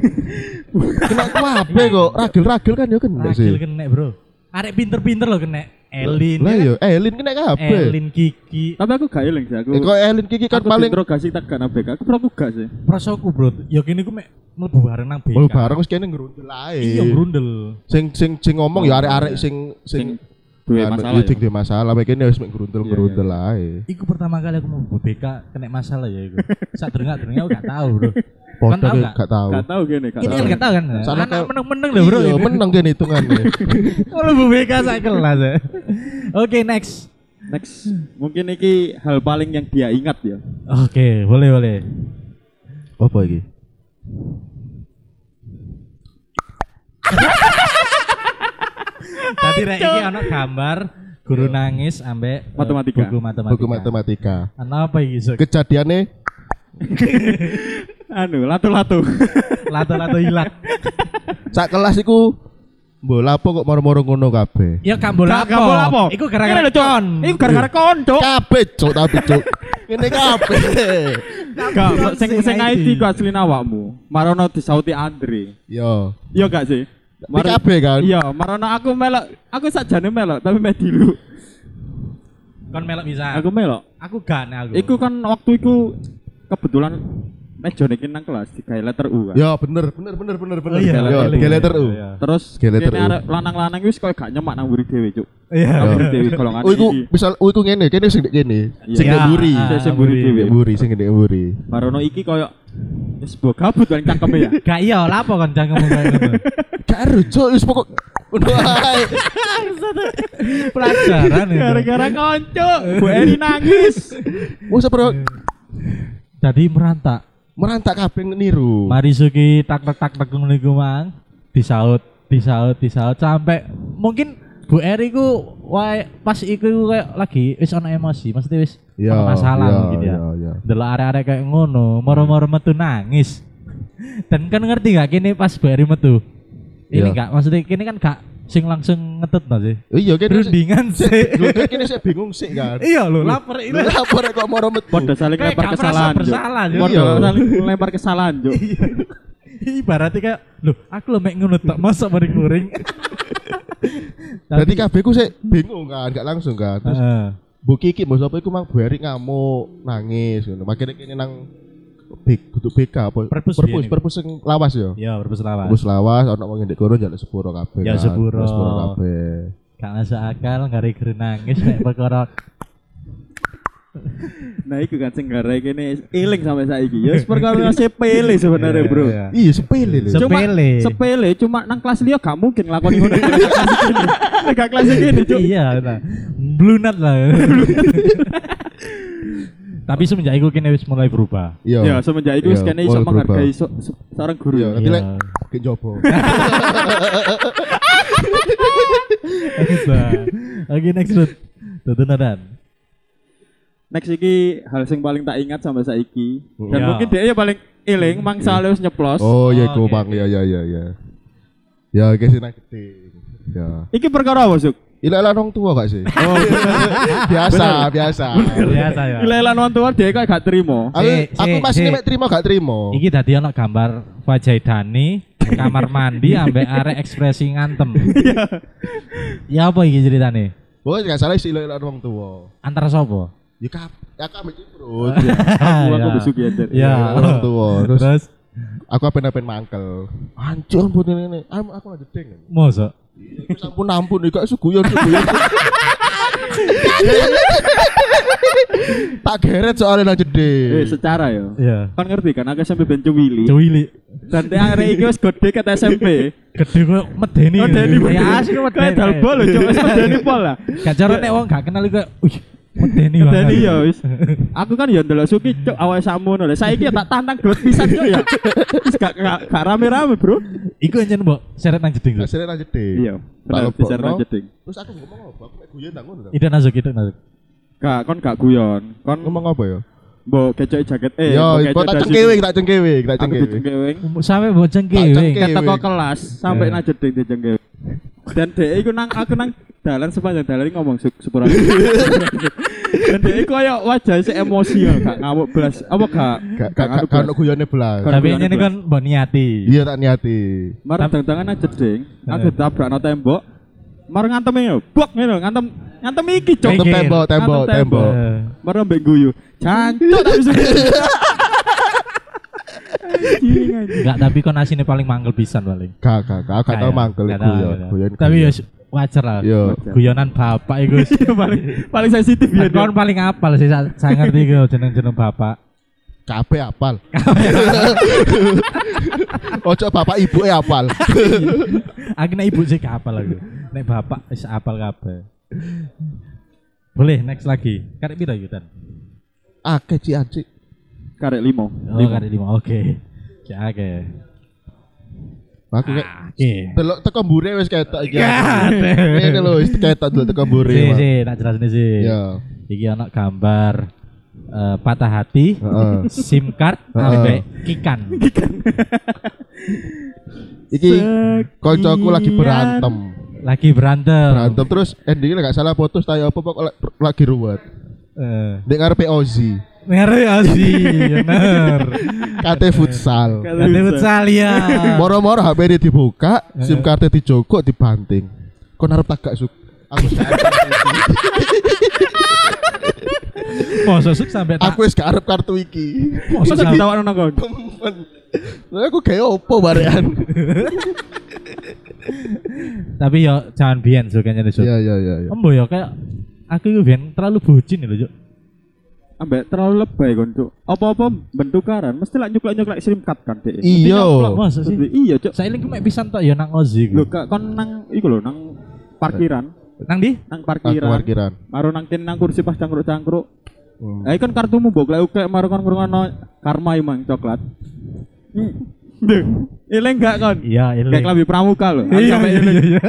C: Kena kabeh kok, ragil-ragil kan yo kena sih.
A: Ragil kena, Bro. Arek pinter-pinter lho kena Elin.
C: Lah
A: ya
C: yo, Elin kena
A: kan?
C: kabeh.
A: Elin Kiki.
B: Tapi aku gak eling sih aku.
C: Eh, Kok Elin kiki kan
B: aku
C: paling
B: interogasi tak gak nabek. Aku pernah gak sih.
A: Prasoku, Bro. Ya kene ku mek mlebu bareng nang BK.
C: Mulu Oh, bareng wis kene ngerundel
A: Iya,
C: ae.
A: grundel.
C: Sing sing sing ngomong ya arek-arek sing sing
B: Sing Dua
C: anu,
B: masalah.
C: iya, sing duwe masalah, kene wis mek ngerundel-ngerundel ae.
A: Iku pertama kali aku mau BK kena masalah ya
C: [laughs]
A: iku. Sak dengak-dengak aku gak tahu, Bro. Kan
C: Podok
A: tahu
C: ya,
A: gak?
C: gak tahu.
B: Gak tau gini. Gak
A: Ini
B: tau.
A: kan gak tahu kan.
C: Soalnya
A: Anak
C: kayak-
A: meneng-meneng lho, Bro.
C: Iya,
A: ini.
C: menang kene hitungannya.
A: Kalau Bu BK saya kelas ya. Oke next.
B: Next. Mungkin ini hal paling yang dia ingat ya.
A: Oke boleh boleh.
C: Apa iki?
A: Tadi rek iki ono gambar guru nangis ambek eh,
B: Matematika.
A: Buku matematika.
C: Buku matematika.
A: Ana apa iki sok?
C: Kejadiannya
B: Anu, latu-latu.
A: Lato-lato hilang.
C: sak kelas iku mbok lapo kok moro-moro ngono kabeh.
A: Ya kambol
B: Gak-
A: apa?
B: gak boleh apa?
A: Iku
B: Ini
A: gara-gara
B: lho, Cok.
A: kon.
B: Ini gara-gara kon, Cok.
C: Kabeh cuk tapi cuk. Ngene kabeh.
B: Gak, kok sing sing ID ku asline awakmu. Marono disauti Andre.
C: Yo.
B: Iya gak sih?
C: Ini kabeh kan.
B: Iya, marono aku melok. Aku sakjane melok, tapi meh dilu.
A: Kon melok bisa.
B: Aku melok.
A: Aku gak nek aku.
B: Iku kan waktu iku kebetulan meja niki nang kelas digawe letter U kan.
C: Yo bener bener bener bener
A: Oh
C: bener.
A: iya,
C: Yo,
A: iya,
C: tiga letter U.
A: iya.
B: Terus
C: Gawe letter
B: kene
C: U.
B: arek lanang-lanang wis koyo gak nyemak nang mburi dhewe, Cuk.
A: Iya.
B: Nang mburi dhewe golongan
C: Oh iku
B: iki.
C: misal oh iku ngene, kene sing ndek kene.
A: Iya,
C: Sing ndek mburi.
A: ah,
B: Sing- sing mburi
A: mburi.
B: dhewe.
C: Ndek mburi sing ndek mburi.
B: Marono iki koyo wis mbok gabut kan cangkeme ya.
A: Gak iya lapo kon cangkemmu kayak
B: [laughs]
A: ngono.
C: Gak ero cuk wis pokok ngono ae.
A: Pelajaran itu.
B: Gara-gara konco, Bu Eri nangis.
C: Wes
A: Iya.
C: pro
A: Jadi merantak.
C: merantak kabeh niru.
A: Mari Suki tak tak tak tak ngono iku mang disaut disaut disaut sampai mungkin Bu Eri ku wae pas iku kayak lagi wis ono emosi maksudnya wis
C: Yo,
A: ono masalah
C: yo,
A: mungkin ya.
C: yo, yo.
A: Delok arek-arek kayak ngono, moro-moro metu nangis. [laughs] Dan kan ngerti gak kini pas Bu Eri metu. Ini
C: Yo.
A: gak maksudnya kini kan gak sing langsung ngetut no sih.
C: Iya kene
A: [laughs]
C: sih.
A: Rundingan sih.
C: Lho kene sih bingung sih kan.
A: iya lho lapar
C: Lho
A: ini.
C: apa rek kok moro metu?
B: Padha saling
A: Kayak
B: lempar
A: gak merasa
B: kesalahan, Cuk.
A: bersalah, Cuk.
B: Padha
C: Iya.
B: saling lempar kesalahan, Cuk.
A: Iya. Ibaratnya kayak lho aku lho mek ngono tok mosok mari kuring.
C: Berarti kabeh ku sik bingung kan, gak langsung kan. Terus
A: Heeh.
C: Bu Kiki mbok sapa iku mang Bu Eri ngamuk, nangis ngono. Makane kene nang big kudu BK apa
A: Perpus
C: perpus,
A: biyen iku.
C: perpus sing lawas ya.
A: Ya, berpeselawat.
C: Perpus lawas ana wong ndek kono njaluk sepuro kabeh.
A: Ya,
C: kan.
A: sepuro.
C: Sepuro kabeh.
A: Gak masuk akal, gak reger nangis nek perkara.
B: Nah, iku kan sing gara kene eling sampai saiki. Ya
A: [laughs]
B: wis perkara sepele sebenarnya, ya, Bro.
A: Iya.
C: Iya, sepele lho.
A: Sep-
B: Cuma-
A: Sepele.
B: sepele cuma nang kelas liya gak mungkin lakoni ngono [laughs] gak kelas iki nih cuk
A: Iya, nah. Blunat lah. Tapi semenjak itu kini wis mulai berubah.
C: Iya.
B: ya semenjak itu wis
C: Iya,
B: kene iso
C: mulai
B: menghargai so- se- seorang guru
C: Iya,
B: ya
C: nanti
A: Iya.
C: lek ke jopo.
A: Bisa. Oke, next route. Tuh nadan.
B: next iki hal sing paling tak ingat sampai saiki dan
A: Iya.
B: mungkin dia ya paling eling mangsa wis nyeplos
C: Oh, iya
A: Oh,
C: iku
A: oke,
C: Bang.
A: oke.
C: Ya ya ya ya. Ya guys nang gede. Ya.
B: iki perkara apa suk
C: Ilalah orang tua gak [laughs] sih? biasa, biasa.
A: Biasa ya.
B: Gelelan wong tua dia kok gak terima
C: Aku,
A: Si,
C: aku
A: si,
C: masih
A: si.
C: mek terima gak terima.
A: Iki tadi ono gambar Fajai Dani kamar
B: [laughs]
A: mandi ambek arek ekspresi ngantem. ya apa iki ceritane?
C: Pokoknya gak salah sih ilalah orang tua.
A: Antara sopo?
C: Ya kap, ya kami [laughs] ciprut.
B: aku aku
A: Ya.
B: besuk ya Jar.
A: Ya.
C: Orang tua. Terus
A: Terus
C: aku apen-apen mangkel. Hancur ampun ini. ini. Am- Aku gak jedeng.
A: mosok
C: Terus ampun ampun iki kok suguyon [laughs] suguyon. Tak geret soalnya nang
B: eh
C: jedeng.
B: secara ya
A: Iya.
B: kan ngerti kan aku SMP ben cuwili
A: Cewili.
B: dan dia hari iki wis gede ket SMP
A: Gede kok medeni.
B: Medeni,
A: Ya
B: medeni.
A: asli
B: kayak
A: medeni.
B: dalbol lho cuk [laughs] wis medeni pol lah
A: Gak cara nek wong gak kenal iku wih medeni banget.
B: Dani ya wis. Aku kan ya ndelok Suki cuk awake sakmono lho. Saiki ya tak tantang gelut pisan cuk ya. Wis gak gak gak rame-rame, Bro.
A: [laughs] Iku enjen mbok seret nang jeding lho.
C: Hasilnya nang jedeng.
B: Iya, bener
C: Tak
B: bisa
C: lebokno.
B: jeding.
C: Terus aku Iya. ngomong apa? Aku mek guyon nang ngono.
A: Ida nasuk itu nasuk.
B: Gak kon gak guyon. Kon
C: Ngomong apa ya?
B: mbok kecok jaket eh
C: Yo,
B: mbok
C: kok tak
B: dasi-
C: cengkewing, tak cengkewing, tak
B: aku
C: cengkewing.
B: dijengkewing
A: sampai boceng
C: Tak cengkewing.
A: kiwi
B: kata kok kelas
C: Eh.
B: sampai najud ding dijengkewing dan dek iku nang aku nang dalan sepanjang dalan ini ngomong su
C: [laughs]
B: sepura dan dek iku koyo wajah sih emosi ya gak ngamuk belas apa gak
C: Gak gak
B: nganu
C: gak ono
B: belas.
C: guyone belas.
B: Gak-
A: tapi ini kan mbok niati
C: Iya tak niati.
B: mar tangan aja ding
C: Eh.
B: aku tabrak no tembok mar ngantem ya bok ngono ngantem ngantem iki cok
C: Ngantem tembok, tembok,
B: Ngantem tembok.
C: tembok.
A: Eh,
B: Merem mbek guyu. Jancuk tak
C: [laughs]
B: bisa. Anjing, anjing.
A: enggak tapi kon asine paling manggel pisan paling
C: Gak gak gak gak tau
A: Kayak,
C: mangkel
A: gak tahu,
C: guyon.
A: gak tahu.
C: Guyon.
A: tapi ya
C: guyon. Iya.
A: wajar lah
C: Yo.
A: guyonan bapak iku
C: [laughs]
A: wis.
B: Iya, paling paling sensitif ya.
A: Kan kon paling apal sih sa- saya ngerti iku jeneng-jeneng bapak
C: Kabeh apal. Ojo bapak ibu e apal.
A: aku nek ibu sih gak apal aku nek bapak wis apal kabeh boleh next lagi karek piro yutan
C: Akeh ci anjing.
B: Karek limo.
A: oh karek lima oke ya oke
C: Aku kayak
A: oke
C: delok teko mbure wis ketok iki. Ini lho wis ketok delok teko mbure.
A: sih
C: Mas.
A: sih tak jelasin sih
C: Iya.
A: iki ana gambar eh, patah hati
C: Heeh.
A: SIM card sampai kikan
C: Iki koncoku lagi berantem.
A: lagi berantem
C: Berantem terus endingnya gak salah putus tayo apa pokok le- lagi ruwet.
A: Eh,
C: Dek ngarepe Ozi.
A: ngeri ya sih bener
C: Kate futsal.
A: Nanti futsal ya
C: Moro-moro HP ini dibuka, SIM cardnya dijogok, dibanting. Kok narep tagak suk? Aku wis gak arep-
A: mosok suk sampai tak
C: aku wis gak arep kartu iki.
A: mosok
B: Masa
A: sampai
B: ditawakno nang kon?
C: Temen. Lah aku kayak opo barean.
A: tapi yo jangan biyen suk kayaknya suk
C: Iya iya iya iya.
A: embo yo kayak aku yo biyen terlalu bucin lho Cuk.
B: Ambek terlalu lebay kon, Cuk. Apa-apa bentukaran mesti lak nyuklek-nyuklek SIM card kan Dek. Mesti
C: Iya.
B: nyaplok.
A: masa sih Iya.
B: Iya, Cuk.
A: saya lagi mek pisan tok yo nang Ozi
B: Lho,
A: ku.
B: gak kon nang iku lho nang parkiran,
A: nang di
B: nang
C: Aku
B: parkiran.
C: parkiran.
B: Maru nang kene nang kursi pas cangkruk-cangkruk.
C: Hmm.
B: Lah kan kartumu mbok leuke maru kon ngrungokno karma imang coklat. Hmm. Eleng gak kon?
A: iya
B: Kayak
A: eling
B: klambi pramuka loh.
A: iya iya iya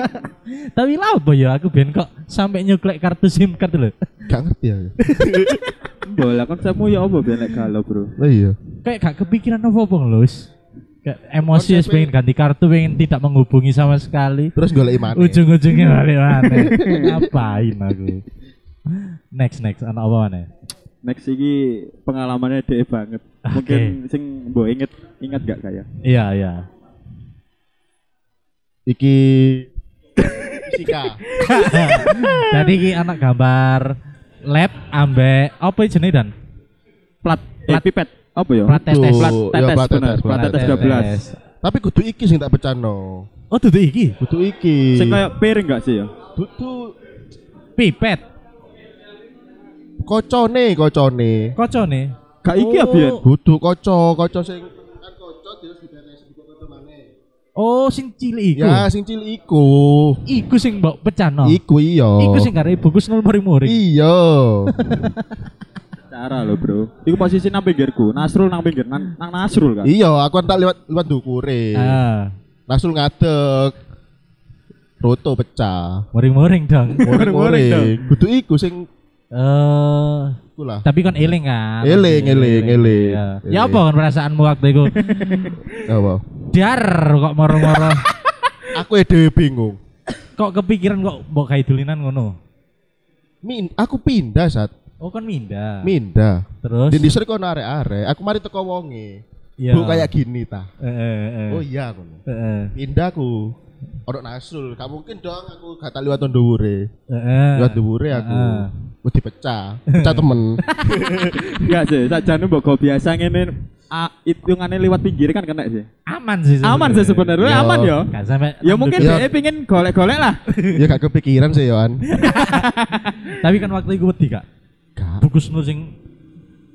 A: tapi lah apa ya aku ben kok sampai nyuklek kartu SIM card lho
C: Gak ngerti ya.
B: Bola konsepmu ya apa belek galau, Bro?
C: Lah iya.
A: kayak gak kepikiran apa-apa lho wis Kayak emosi wis pengen ganti kartu pengen tidak menghubungi sama sekali
C: Terus golek imane.
A: ujung-ujungnya balik mana ngapain aku next next anak apa mana
B: Next iki pengalamannya deh banget. Mungkin sing mbok inget ingat gak ya? kayak?
A: iya iya [laughs]
C: Iki fisika.
A: jadi ini anak gambar lab ambek apa jenis dan
B: Plat, plat Eh, pipet. Apa ya?
A: plat tetes
C: Tuh.
B: plat
C: Iya,
B: tetes
C: plat
B: bener,
C: tetes,
B: plat
C: plat
B: tetes
C: tetes.
B: 12.
C: Tapi kudu iki sing tak pecano.
A: oh duduk iki
C: Kudu iki.
B: Sing
A: Iya.
B: kayak piring gak sih ya?
C: kudu
A: pipet
C: kocone kocone.
A: koco nih
C: Ah,
B: Gak iki ya,
A: Oh.
B: Bian.
C: Kudu koco, koco sing kan koco terus diberes iku koco maneh.
A: oh sing cilik iku
C: Ya sing cilik iku.
A: iku sing mbok pecah no
B: Ah.
C: Iku iya.
A: iku sing karena ibu kus nol muring muring
B: [laughs]
C: Iya.
B: Cara loh, Bro. Iku posisi nang pinggirku. Nasrul nang pinggir, nang, nang Nasrul kan.
C: Iya, aku entak lewat lewat dukure. Iya.
A: ah
C: Langsung ngadeg. Roto pecah.
A: muring muring
C: [laughs]
A: dong
B: Goreng-goreng dong.
C: Goreng-goreng. Kudu iku sing
A: eh
C: iku lah.
A: tapi kon eling kan
C: Eling, eling, eling.
A: Iya.
C: Eling.
A: ya apa kan perasaanmu waktu itu
C: Apa?
A: dar kok moro-moro
C: Aku ya dhewe bingung.
A: kok kepikiran kok mbok kayak dulinan ngono
C: Min, aku pindah saat
A: oh kan minda
C: pindah.
A: terus
C: Di distrik kono arek-arek. Aku mari teko wonge.
A: ya.
C: Bu kayak gini ta.
A: eh, eh, eh.
C: Oh iya aku.
A: Eh, eh,
C: Pindah aku. Orang Nasrul, gak mungkin dong aku gak tak liwat ndhuwure.
A: eh, eh.
C: Liwat ndhuwure aku.
A: Ah.
C: Wis dipecah. Pecah temen.
A: [laughs]
B: Enggak sih, sajane mbok go biasa ngene ah, hitungannya lewat pinggir kan kena sih.
A: aman sih
B: Aman sih sebenarnya,
A: Iya.
C: Yo.
B: aman ya.
A: Gak sampai
B: Ya mungkin
C: Iya.
B: dia pingin golek-golek lah.
C: ya gak kepikiran sih Yohan.
A: tapi kan waktu itu wedi kak
C: Gak.
A: bukus nu sing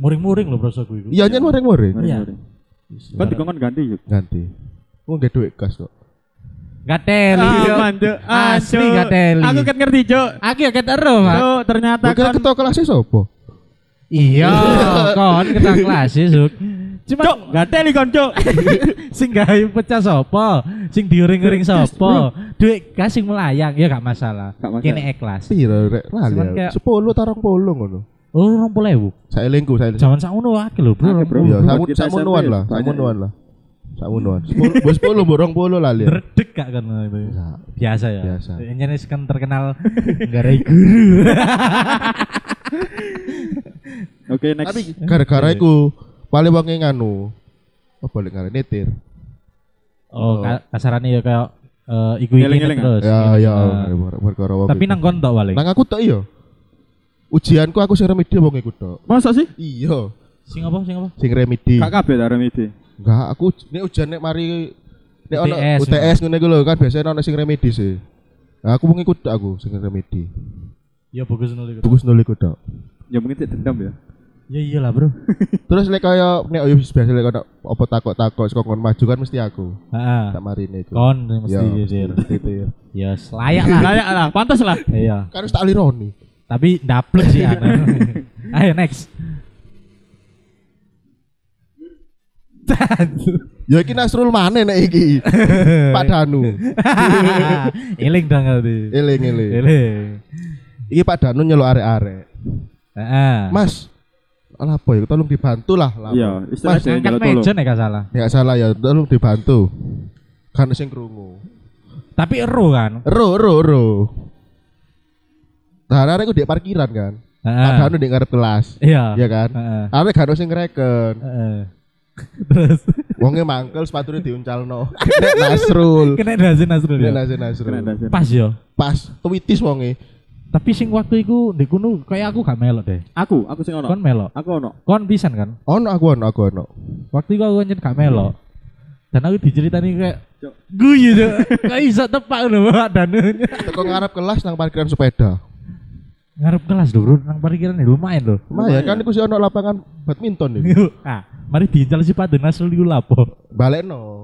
A: muring-muring loh proses gue itu
C: Iya nyen muring-muring.
A: Iya.
B: Kan dikongkon ganti yuk.
C: Ganti. Wong gak duit gas kok.
A: gak teli
B: Aman, Cuk. Ah,
A: Asli
B: Cuk.
A: gak teli.
B: Aku ket ngerti, Cuk.
A: aku ya keteru pak
B: Cuk, ternyata kan,
C: Bukan
B: kon
C: ketua kelasnya sopo?
A: iya kon kita kelas sih suk cuma
B: Cuk, gak teli kon,
A: [laughs]
B: Cuk.
A: sing gawe pecah sapa sing diuring-uring sapa duit gas sing melayang ya gak masalah
B: Gak masalah.
A: kene ikhlas
C: Piro rek lali.
A: Cuman
C: aku.
A: kayak-
C: 10 tarong 10 ngono.
A: Oh, 20.000.
C: Saya lingku, saya
A: Jaman sakmono akeh lho, Bro.
B: Akeh, Bro.
C: Iya,
B: Umur kita
C: sama
B: SMP
C: nuan lah,
B: banyak.
C: sama nuan lah. Sama nuan. Bos polo, borong polo lah lihat.
A: Derdek gak kan itu.
C: Enggak.
A: Biasa ya.
C: Biasa.
A: Ini kan
C: [laughs]
A: terkenal gara guru.
B: Oke, next.
C: Tapi
A: Iya,
C: gara-gara iku paling wonge nganu. Apa balik ngare netir.
A: Oh,
C: Oh.
A: ka- kasarannya ya kayak eh, iku iki
B: Ngeling-ngeling,
A: terus.
C: Ya ya
A: Nah,
C: gara- gara-gara wong.
A: Tapi
C: iku.
A: nang kon tok wale.
C: nang aku tok iya. Ujianku aku sing remedi wong iku tok.
B: Masa sih?
C: Iya,
A: Sing apa sing apa?
C: sing remedi.
B: Kak kabeh ta remedi.
C: Enggak, aku uj- nek ujian nek mari nek ono
A: UTS,
C: UTS ngene iku lho kan biasanya ono sing remedi sih. Nah, aku mung ikut tok aku sing remedi.
A: Ya bagus nol iku.
C: Bagus nol
B: [laughs]
C: iku tok.
B: Ya mungkin cek dendam ya.
A: Ya iyalah,
C: [laughs]
A: Bro.
C: Terus lek kaya nek yo biasa lek ono apa takok-takok saka kon maju kan mesti aku.
A: Heeh.
C: Tak marine iku.
A: Ah, Kon sing
C: Ya,
A: mesti dir.
C: mesti itu ya.
A: Ya layak lah.
B: Layak lah, pantas lah.
A: Iya.
C: Kan harus tak lironi.
A: Tapi ndaplek sih anu. Ayo next.
C: Ya iki Nasrul maneh nek
A: [laughs]
C: iki. Pak Danu.
A: Eling dong ngerti.
C: Eling eling.
A: Eling.
C: Iki Pak Danu nyeluk arek-arek.
A: Heeh.
C: Mas, alah apa ya? Tolong dibantu lah. lah.
B: Iya,
A: Mas
B: istilahnya
A: ngangkat
B: nyelot
A: meja
B: tolong.
A: nek gak salah.
C: Nggak salah ya, tolong dibantu. Kan sing krungu.
A: Tapi ero kan.
C: Ro ro ro. Nah, arek ku di parkiran kan. Pak
A: Heeh.
C: Danu di ngarep kelas.
A: Nah. Iya.
C: Iya kan?
A: Heeh.
C: Arek gak ono sing ngreken.
A: Heeh. [laughs] Terus
C: Wonge mangkel sepatune diuncalno. [laughs] Nek
A: [laughs]
C: Nasrul.
A: kena dasin Nasrul ya.
C: Nek Nasrul
B: Kena dasar.
C: Nasrul.
A: Pas yo.
C: Pas twitis wonge.
A: Tapi sing waktu iku ndek kono kayak aku gak melok deh.
B: Aku, aku sing ono.
A: Kon melok.
B: Aku ono.
A: Kon pisan kan.
C: Ono aku ono aku ono.
A: Waktu itu aku nyen gak melok. Dan aku diceritain kayak
B: Cok.
A: guyu cok. Kayak iso tepak ngono Pak Danun.
C: Teko ngarep kelas nang parkiran sepeda.
A: [laughs] Ngarep kelas lho, Bro. Nang parkiran ya lumayan lho.
C: Lumayan
B: Lumayan.
C: kan iku sih ono lapangan badminton iku.
A: [laughs] ah, mari diincal si Pak Donas dulu lapo.
C: [laughs] [laughs] Balekno.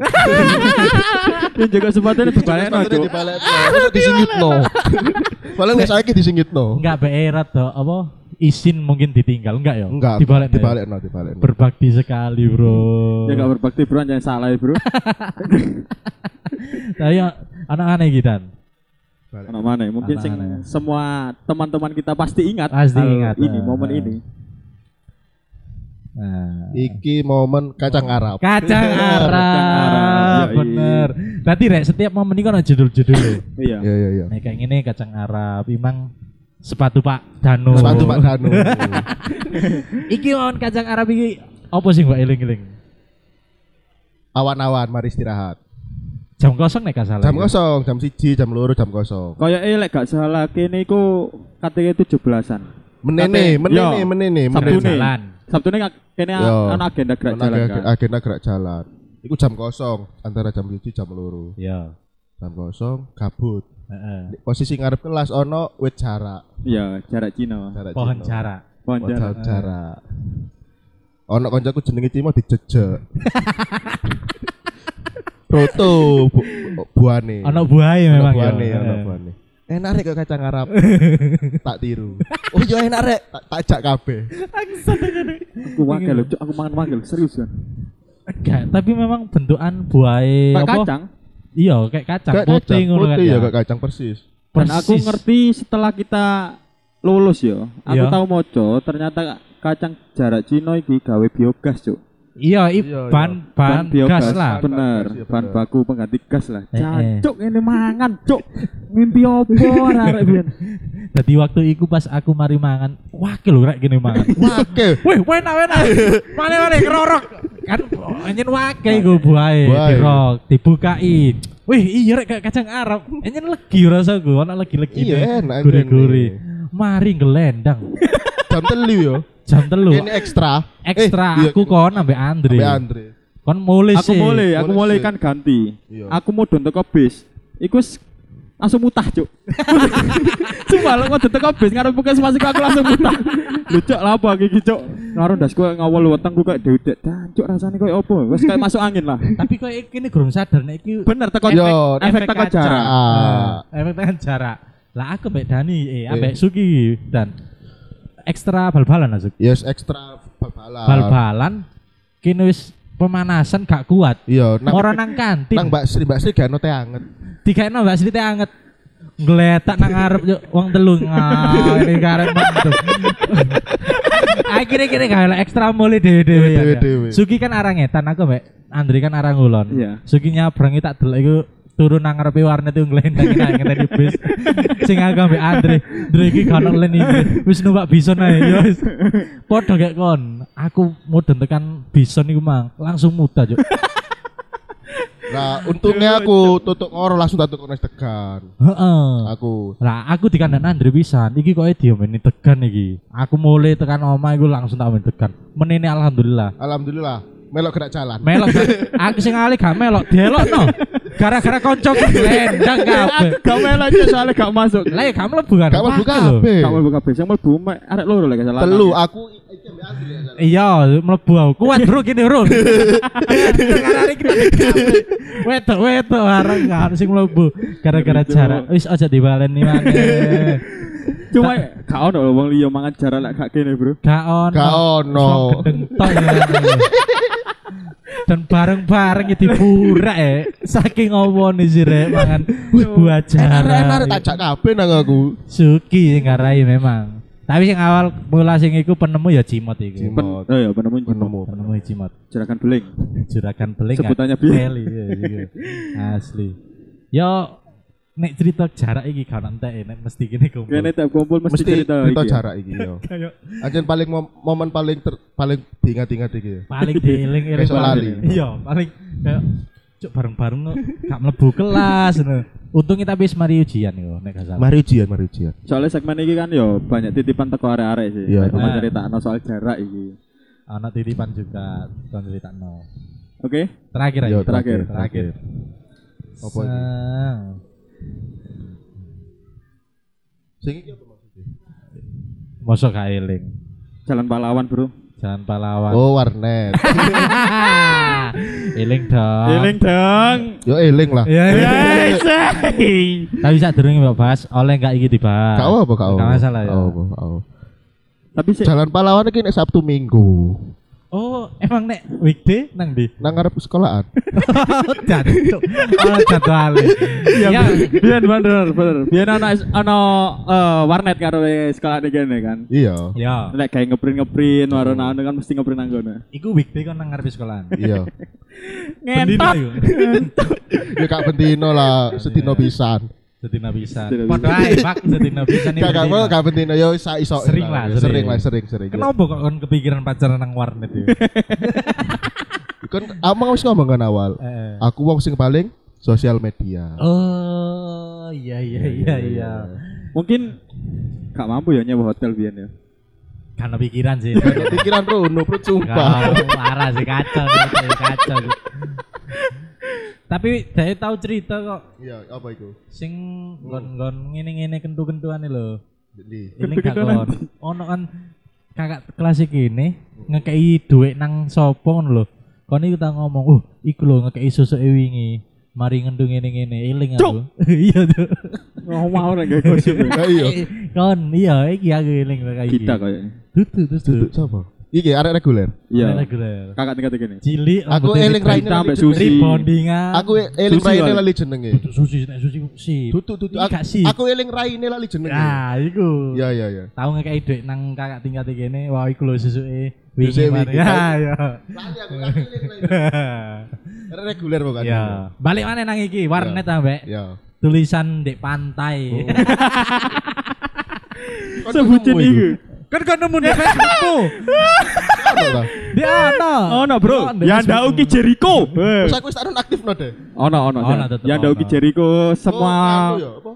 B: Ya jaga sepatnya dibalekno,
C: Sepatutnya
B: Cuk.
C: dibalekno. Masa [laughs] disingitno. Paling nek saiki disingitno.
A: Enggak berat toh, apa izin mungkin ditinggal enggak ya?
C: Enggak,
A: dibalik. Dibalik.
C: dibalekno, dibalekno.
A: Berbakti sekali, Bro.
B: Ya gak berbakti bro, jangan salah ya
A: [laughs]
B: bro.
A: Tapi anak aneh gitu kan.
C: Dibalekno.
B: Anak mana ya? Mungkin
A: Anak
B: sing
A: mana ya?
B: semua teman-teman kita pasti ingat.
A: Pasti
B: hal
A: ingat,
B: Ini
A: eh.
B: momen ini.
A: Nah.
C: Iki momen [laughs] kacang iya, Arab.
A: Kacang
B: Arab,
A: Arab,
B: yoi.
A: bener. Berarti rek setiap momen ini kan ada judul-judulnya.
B: Iya.
C: Iya iya iya.
A: Nah, kayak gini kacang Arab, imang sepatu Pak Danu.
C: Sepatu Pak Danu.
A: Iki lawan kacang Arab iki apa sih Mbak eling-eling?
C: Awan-awan mari istirahat.
A: Jam kosong nek gak salah.
C: Jam
A: ya?
C: kosong, jam siji, jam loro, jam kosong.
B: Kayak eh lek gak salah kene iku KTG 17-an.
C: Menene,
B: Tapi-
C: menene,
B: Yo.
C: menene,
A: Gerak
B: Sabtu
C: menene.
B: nih.
A: jalan.
B: Sabtu ini kene
A: Iya.
C: Yo.
B: ana agenda gerak
C: Ono
B: jalan
C: ag-
B: kan.
C: Agenda gerak jalan. Iku jam kosong antara jam siji jam loro.
A: Iya.
C: Jam kosong kabut.
A: Heeh.
C: Di Posisi ngarep kelas ono wit jarak.
B: Iya, jarak Cina.
C: Jarak
A: Pohon
C: Cina.
A: jarak.
B: Pohon
C: Pohon
B: jarak.
C: jarak. Ono koncoku jenenge
A: [laughs]
C: Cimo dijejek. Roto bu, buane.
A: Ono buaya
C: Ono
A: memang
C: buane,
A: ya.
C: ono
A: Heeh.
C: buane. Enak rek kok kacang
A: [laughs]
C: Arab. tak tiru. Oh iya enak rek, tak tak ajak kabeh.
B: Aku wakil loh, Cuk. aku mangan wakil serius kan.
A: Enggak, tapi memang bentukan buaya
B: Kayak
A: apa?
B: kacang.
A: Iya, kayak kacang
C: Kayak
A: putih
C: kacang
A: ngono kan.
C: putih ya,
A: ya.
C: kayak kacang persis.
B: Dan
A: Persis.
B: aku ngerti setelah kita lulus ya. Aku
A: Iya.
B: tahu moco, ternyata kacang jarak Cina iki gawe biogas, Cuk.
A: Iya, i-
C: Iya, iya.
A: ban ban gas lah.
C: Ban
B: Bener,
C: gas, iya,
B: bahan
C: bener.
B: baku pengganti gas lah.
A: Eh, eh.
B: Cuk, ini mangan, Cuk. Mimpi [laughs] opo ora arek biyen.
A: Jadi waktu itu pas aku mari mangan, wakil lho rek gini
C: [laughs]
A: mangan.
C: Wah, oke.
A: Wih, wena wena. Mane mane kerorok. Kan anjen wake iku buae
C: Buahe.
A: dirok, dibukai. Wih, iya rek kayak kacang Arab. Anjen legi rasaku, ana legi-legi.
C: Iya, enak,
A: Gurih-gurih. Mari ngelendang.
C: Jam telu yo.
A: Jam telu
C: Ini ekstra.
A: ekstra
C: Eh, iya,
A: aku kon ambek Andre.
C: Sampai Andre.
A: Kon mulai
B: Aku
A: sih.
B: mulai, aku
C: Boleh
B: mulai
C: sih.
B: kan ganti.
C: Iya.
B: Aku mau dondo ke bis. Iku s- langsung mutah, Cuk. [laughs] Cuma lo mau dondo ke bis ngarep puskesmas iku aku langsung [laughs] mutah. Lho, Cuk, lapo iki iki, Cuk? Karo ndas kowe ngawal wetengku kayak dewek. Dan, Cuk, rasane koyo opo? Wes kayak masuk angin lah.
A: Tapi kok iki ini gurung sadar nek iki
B: Bener teko
C: Yo,
B: efek teko jarak.
A: Eh,
C: Ah. Iya.
A: Emang tekan jarak. Lah aku mbek Dani, eh ambek Sugi dan ekstra bal-balan asuk.
C: Yes, ekstra bal-balan.
A: Bal-balan kini wis pemanasan gak kuat.
C: Iya, nang
A: Orang nang kantin.
C: nang Mbak Sri, Mbak Sri gak ono teh anget.
A: Tiga Mbak Sri teh anget. Ngeletak nang ngarep yo wong telu ngene karep mentu. Akhirnya kira gak elek, ekstra mule dhewe-dhewe ya.
C: Dhewe-dhewe.
A: Sugi kan arang etan aku mek Andri kan arang ulon.
B: Iya.
A: Sugi nyabrang iki tak delok iku turun nang ngarepe warnet itu ngelentengi nang ngenteni bis. Sing aku ambek Andre, Andre iki gak ono len iki. Wis numpak bison ae ya wis. Podho gek kon. Aku mudun tekan bison iku mang, langsung muda juk.
C: Nah, untungnya aku tutup ngoro langsung tak tutup nes tekan.
A: Heeh.
C: Aku
A: Lah aku dikandani Andre pisan. Iki koke diomeni tegan iki. Aku mulai tekan omah iku langsung tak omeni tegan. Menene alhamdulillah.
C: alhamdulillah melok kena jalan.
A: Melok aku sing ali gak melok, delokno. Gara-gara kanca glendang kabeh.
B: Gak melu aja soalnya gak masuk.
A: Lah ya gak mlebu kan.
C: Kamu buka
A: Pakai lho.
C: HP.
B: Gak mlebu kabeh, sing mlebu mek arek loro lek gak salah.
C: Iya. Telu aku iki ambek Andri ya, jalan.
A: Iya, mlebu aku. Kuat bro gini bro. Gara-gara kita Wetok wetok areng gak ono sing mlebu gara-gara
B: Gitu.
A: jarak. Wis aja dibaleni maneh.
B: Cuma gak ono lho wong liya mangan jarak lek gak kene, Bro.
A: Gak ono.
C: Gak ono.
A: Sok gedeng tok ya. Dan bareng-bareng ya diburak ya. Saking ngomongin sih rek mangan buah
C: Eh, Enak-enak
A: jarak.
C: tajak kabeh nang aku.
A: Suki sing ngarai memang. Tapi sing awal mula sing iku penemu ya Cimot iku.
B: Pen oh ya penemu penemu
A: Penemu ya Cimot.
B: jerakan beling.
A: Juragan beling.
B: Sebutannya
A: Kak.
B: piye?
A: Peli, iya, iya. Asli. Yo nek cerita jarak iki gak entek eh. nek mesti kene kumpul.
B: Kene tiap kumpul mesti
C: Mesti
B: cerita
C: cerita
B: iki ya.
C: jarak iki yo.
A: Kayak
C: Anjen paling mom- momen paling ter, paling diingat-ingat iki ya.
A: paling dieling eling
C: Besok
A: paling.
C: lali.
A: Iya, paling kayak cuk bareng-bareng kok gak mlebu kelas ngono. Untung kita wis mari ujian yo nek gak salah.
C: Mari ujian, mari ujian.
B: Soalnya segmen ini kan yo banyak titipan teko arek-arek sih.
C: Iya,
B: Banyak
A: bener.
B: cerita soal jarak iki.
A: Anak titipan juga kon critakno.
B: Oke,
A: Terakhir aja.
C: Yo,
B: terakhir,
A: Terakhir.
C: Apa
A: Apa
C: ini? Sing iki apa maksudnya?
A: Mosok gak eling.
B: jalan pahlawan, Bro.
A: Jangan pahlawan.
C: Oh, warnet.
A: Eling dong.
B: Eling dong.
C: Yo eling lah.
A: Iya, iya.
B: Yes.
A: Tapi saat durunge mbak bahas oleh gak iki dibahas.
C: Kau apa kau?
A: Gak masalah ya.
C: Kau apa kau?
B: Tapi sih
C: Jalan pahlawan iki nek Sabtu Minggu.
A: Oh, emang nek weekday nang [laughs] di?
C: Nang ngarep sekolahan.
A: Jatuh. Oh, jatuh alih. Ya,
B: Biar Iya, bener bener. Biar anak ana eh, warnet karo sekolah ini gini kan.
C: Iya.
A: ya.
B: Nek kayak ngeprint ngeprint warna anu kan mesti ngeprint nang kono.
A: Iku weekday kon nang ngarep sekolahan. [laughs]
C: Iya.
A: Ngentot.
C: Ya Kak Bentino lah, setino pisan.
A: Setina pisan.
B: Setina pisan.
A: Padha ae, Pak, setina pisan iki.
C: Kak Kak
A: Setina.
C: Kak Bentino yo isa iso.
A: Sering lah,
C: sering
A: sering.
C: lah, sering sering.
A: Kenapa kok kon kepikiran pacaran nang warnet [laughs] ya?
C: Kan amang wis ngomong kan awal.
A: Eh.
C: Aku wong sing paling sosial media.
A: Oh, iya iya iya iya.
B: Mungkin gak mampu ya nyewa hotel biar ya.
A: Karena pikiran [laughs] sih.
C: Pikiran Rono, bro, sumpah.
A: Kalau parah sih kacau, kacau, kacau. Tapi saya tahu cerita kok
C: Iya, apa itu?
A: sing gon-gon ngene-ngene kentu-kentuan lho.
C: Jadi,
A: Ini
B: Kentu-kentuan.
A: kakon. Ono kan kakak kelas iki ini ngekei duit nang sapa ngono lho. Kon iku tak ngomong, "Uh, iku lho ngekei susuke wingi." Mari ngendung ngene-ngene eling aku. [laughs] Iya, Cuk.
B: Oh mau orang gak gosip. ya.
C: Nah, iya.
A: Kon iya iki aku eling kok iki.
B: Kita kayaknya.
A: Dudu terus dudu.
C: Siapa? Iki arek reguler.
B: Iya.
A: Reguler.
B: Kakak tingkat gini.
A: Cilik
C: Aku
A: rambutnya
C: eling Raine
B: Kita
C: lali
B: ambek
C: jenenge.
B: Susi.
A: rebondingan.
C: Aku e-, eling
B: Susi
C: Raine
B: kali.
C: lali jenenge.
A: Duduk susi nek susi si.
C: Tutu tutu.
A: Iki gak sih.
C: Aku eling Raine lali jenenge.
A: Nah, iku.
C: Ya ya ya.
A: Tahu nggak kayak duit nang kakak tingkat kene, wah iku lho susuke
C: Susuke
A: wingi mari.
C: wingi.
A: [laughs] Ya, ya.
C: Lali aku aku eling
A: [laughs]
C: Raine. Arek reguler bukan.
A: Ya. Balik mana nang iki warnet ambek
C: Ya. Oh.
A: tulisan dek pantai. [laughs]
C: Kok
B: Sebutin
C: ketemu
B: iki.
A: Kan kan nemu [laughs] di Facebookmu.
C: Ono lah. [laughs]
A: Di ana.
B: Oh no bro,
C: Ya,
A: Ono, di
B: yang
A: Facebookmu.
B: dauki Jericho.
C: Terus aku wis tak aktif no deh.
B: Oh no oh no.
A: Ono, tetep
B: Yang dauki
A: ono.
B: Jericho
C: Oh, anu
B: semua
C: ya, apa?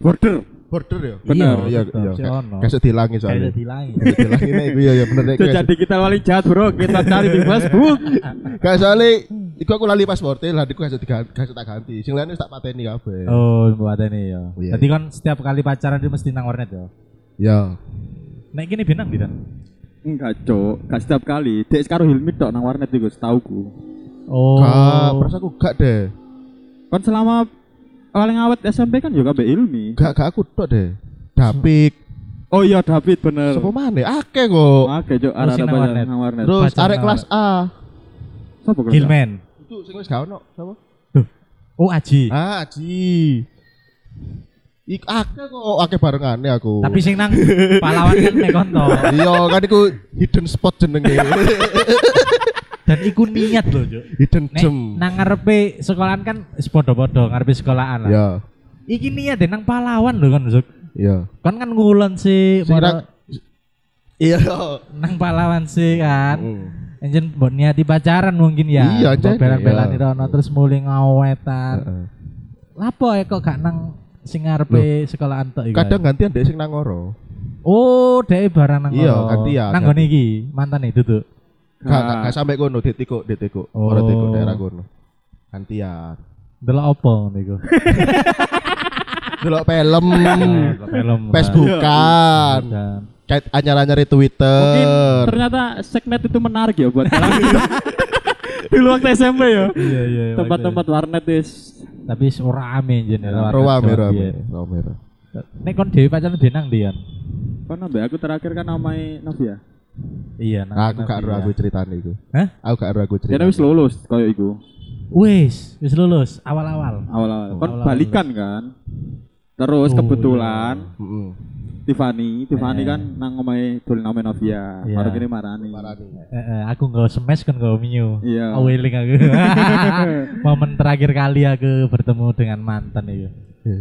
B: border.
C: Border ya.
A: Bener.
C: Oh, Iya iya.
A: Si ono.
C: Kayak dilangi soalnya.
A: Kayak
C: [laughs]
A: dilangi.
C: Kayak dilangi nek iku ya ya bener nek.
B: Itu jadi kita wali jahat bro. Kita cari di Facebook. [laughs]
C: Kayak soalnya iku aku lali pasporte lah iku kayak diganti kayak tak ganti. Sing lainnya wis tak pateni kabeh.
A: Oh, buat ini ya.
C: Ya. Iya,
A: Jadi kan setiap kali pacaran dia mesti nang warnet ya.
C: Ya.
A: Nek kene benang tidak?
B: Enggak cok, gak setiap kali. Dek sekarang Hilmi tok nang warnet itu setauku.
A: Oh.
C: Gak, perasa aku gak deh.
B: Kan selama paling awet SMP kan juga be Hilmi.
C: Gak gak aku tok deh. Dapik.
B: Oh iya David bener.
C: Sopo maneh? Akeh kok.
B: Oke cok,
A: Terus
B: arah
A: yang nang
B: arah
A: warnet.
B: banyak nang warnet.
C: Terus
A: Pacar
C: arek kelas A.
B: Sopo kok?
A: Gilman.
C: Itu sing wis gak ono sapa?
A: Oh, Aji.
C: Ah, Aji. Ah, Iku akeh kok akeh barengane aku.
A: Tapi sing nang pahlawan kan mek konto.
C: iya kan iku hidden spot jenenge.
A: [laughs] Dan iku niat loh, Cuk. Nek
C: hidden
A: nah.
C: gem.
A: nang ngarepe sekolahan kan sepodo-podo ngarepe sekolahan lah.
C: Iya,
A: Iki niat deh nang pahlawan loh kan, Cuk.
C: iya.
A: Kan kan ngulon sih
C: Sing nang-
A: moro-
C: Iya.
A: nang pahlawan sih kan.
C: Mm.
A: Enjen buat niati pacaran mungkin ya.
C: Iya,
A: Mbok
C: Jen.
A: Bela-belan
C: Iya.
A: di rono terus mulai ngawetan.
C: Heeh.
A: Lapo ya kok gak nang sing ngarepe sekolahan tok iku.
C: Kadang gantian dek sing nang ora.
A: Oh, dhek barang nang
C: Iya,
A: kono.
C: ganti ya,
A: Nang
C: ganti.
A: ngene iki, mantan e, itu tuh.
C: Gak
B: Ah.
C: gak sampe kono ditikuk ditikuk.
A: Oh.
C: Ora ditikuk daerah kono. [laughs] Gantian.
A: Delok opo ngono iku?
C: Delok film,
A: Film.
C: Iya.
A: Iya,
C: Facebookan,
A: Dan-
C: kait anyar-anyar di
B: Mungkin
C: Twitter.
B: ternyata segnet itu menarik ya buat
A: [laughs]
B: orang. dulu waktu SMP ya.
A: Iya, iya. iya,
B: Tempat-tempat warnet is
A: makanya. tapi ora ame jen
C: Iya,
A: ya, lawan
C: Rame
A: jaman
C: rame,
A: biyen.
C: rame. rame.
A: Nek kon dhewe pacaran dhewe nang ndi, Yan?
B: Kan nambah aku terakhir kan namai Novia.
A: Iya,
C: Aku gak ero
A: iya.
C: aku ceritane iku.
A: Hah?
C: Aku gak ero aku
A: Iya.
B: Jadi
C: ceritane.
B: wis lulus koyo iku
A: Wis, wis lulus awal-awal.
B: awal-awal. Kan
A: Awal-awal
B: balikan kan. Terus
A: Oh,
B: kebetulan
C: Heeh.
B: Tiffany, Tiffany
A: Eh.
B: kan nang omahe dolen name Novia.
A: Iya.
B: Baru kene marani.
C: Parani.
A: Eh, eh, aku nggak smash kan nggak minyu.
B: Iya.
A: Aweling
C: [laughs]
A: aku. Momen terakhir kali aku bertemu dengan mantan itu.
C: Iya.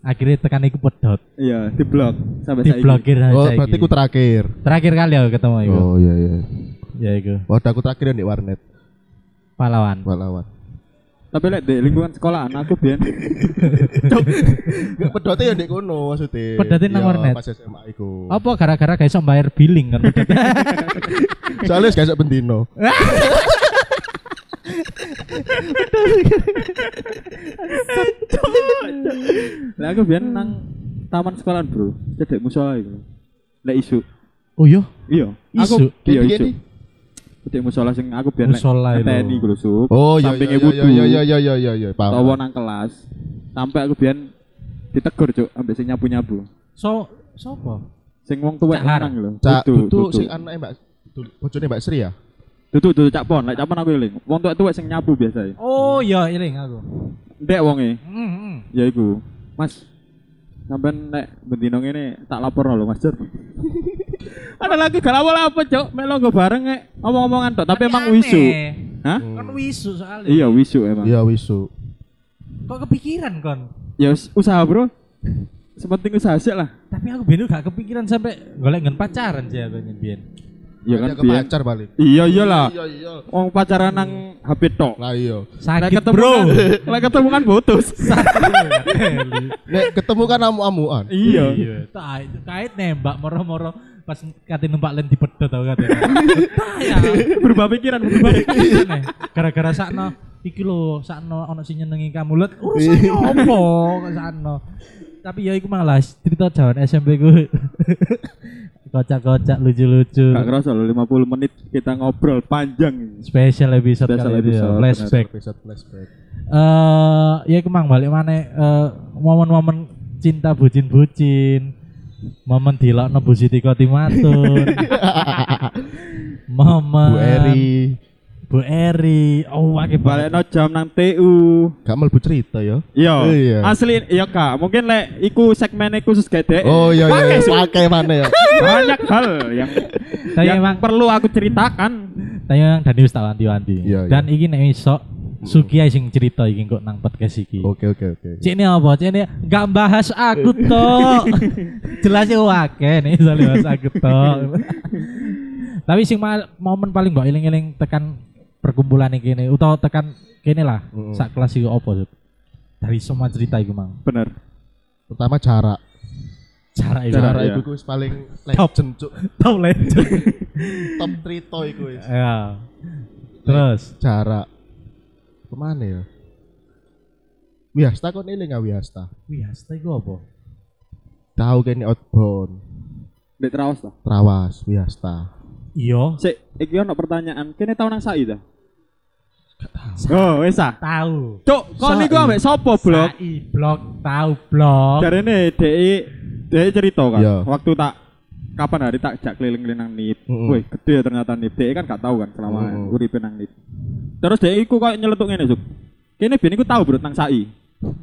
A: Akhirnya tekan iku pedot,
B: Iya, di blok sampai saiki.
A: diblokir aja.
C: Oh,
A: iki.
C: berarti ku terakhir.
A: terakhir kali aku ketemu iku.
C: Oh iya iya.
A: Ya iku.
C: Waduh aku terakhir di warnet
A: Pahlawan.
C: pahlawan.
B: Tapi lek di lingkungan sekolahan aku biyen
C: Gak pedote ya ndek kono maksudnya.
A: Pedote nang
C: Iya,
A: warnet.
C: Pas SMA iku.
A: Apa gara-gara gak iso bayar billing kan? [laughs]
C: Soalnya gak bendino.
B: lek aku biyen nang taman sekolahan, Bro. Cedek musola iku. Lek isu.
A: oh iya.
B: Iya,
A: Isuk?
B: aku iya
C: Gini-gini?
B: isu. Cedek musola sing aku biyen lek
A: Musola itu.
B: TNI iku lho, Sup.
C: Oh iya
B: Sampinge
C: iya iya
B: wudu.
C: iya iya iya iya iya iya. Paham.
B: Tawa nang kelas. Sampai aku biyen ditegur, Cuk, ambek sing nyapu-nyapu.
A: So sopo?
B: Sing wong tuwek
A: Cak
B: lanang lho.
C: Cak
B: Dudu,
C: Dudu
B: Dudu.
C: sing anake Mbak Dudu- bojone Mbak Sri ya?
B: Dudu, dudu Cak Pon, lek Cak Pon aku eling. Wong tuwek tuwek sing nyapu biasa.
A: Oh iya iling aku.
B: Ndek wonge,
A: Mm, mm.
B: ya iku. Mas, sampean nek bendino ngene tak laporno lho, Mas Jur.
C: [laughs]
B: Ada lagi gak lapo apa, Cuk. Melo nggo bareng nek omong-omongan tok, tapi
A: aneh. Hmm.
B: emang
A: Oh.
B: wisu. Hah?
A: Kon Kan wisu soalnya.
B: Iya, wisu emang.
C: Iya wisu.
A: Kok kepikiran kon?
B: Ya us- usaha, Bro. Sepenting usaha sih lah.
A: Tapi aku bener gak kepikiran sampai golek nggen pacaran sih aku nyen
B: Ya
C: Dia
B: kan
C: ke
B: biyen.
C: pacar balik.
B: Iya iyalah.
C: Iya iya.
B: Wong pacaran nang HP tok.
C: Lah iya.
B: Lek
A: Sakit
B: ketemu kan- lek ketemu kan
C: [laughs]
B: putus.
C: Nek ketemu kan amu-amuan.
B: Iya.
A: Iya, tai kait nembak moro-moro pas kate numpak len dipedot tau kate. Tai aku.
B: Berubah pikiran, berubah pikiran.
A: Aneh. Gara-gara sakno iki lho sakno ono sing nyenengi kamu let urusane opo kok sakno. Tapi ya iku malah cerita jaman SMP ku. Kocak-kocak
B: Gak
A: lucu-lucu.
B: kerasa loh 50 menit kita ngobrol panjang.
A: Special episode
B: Special
A: kali ini ya,
B: episode,
A: flashback.
C: Episode flashback.
A: eh ya kemang balik mana eh, momen-momen cinta bucin-bucin momen dilok nebu Siti
C: [laughs]
A: Kotimatun momen
C: Bu Eri
A: Bu Eri oh wake banget
B: Balekno jam nang TU.
C: gak melbu cerita ya.
B: Iya.
C: Iya.
B: Asli iya Kak. Mungkin lek iku segmennya khusus gede.
C: Oh iya iya.
B: Pakai, Su.
C: Pakai mana ya?
B: Banyak hal yang
A: Tapi
B: yang
A: emang-
B: perlu aku ceritakan.
A: tanya yang Dani wis tak wanti-wanti
C: Iya, iya.
A: dan iki nek esok Sugi ae sing cerita iki kok nang podcast iki
C: Oke oke oke.
A: Cik ini apa? Cik ini gak bahas aku [laughs] tok. Jelasnya wake nih soalnya bahas aku tok. Tapi sing ma- momen paling mbak eling-eling tekan perkumpulan iki ini utawa tekan kene lah
C: Mm-mm.
A: sak kelas iku apa Sud? Dari semua cerita iku mang.
B: Bener.
C: Pertama jarak.
A: Cara iku.
C: Jarak
B: iya.
C: iku wis paling
A: Top.
C: legend cuk.
A: Top legend. [laughs]
C: Top cerita iku wis.
A: ya. Terus
C: Jarak. Kemana ya? Wiasta kon eling gak Wiasta?
A: wih hasta iku apa?
C: Tahu kene outbound.
B: Dek terawas lah.
C: Trawas Wiasta.
A: Iya,
B: Sik, iki ono pertanyaan. Kene tau nang Sai ta? Oh, wis ah.
A: tahu.
B: Cuk, kok
C: Sai.
B: niku ambek sapa, Blok?
A: Sai Oh. blog, tahu blog.
B: Jarene DE DE cerita kan.
C: Iya.
B: Waktu tak kapan hari tak jak keliling-keliling nang NIP.
C: Mm-mm.
B: Wih, gede ya ternyata NIP. DE kan gak tahu kan selama
C: Mm-mm.
B: uripe nang NIP. Terus DE iku koyo nyeletuk ngene, Juk. Kene ben iku tahu bro nang SAI.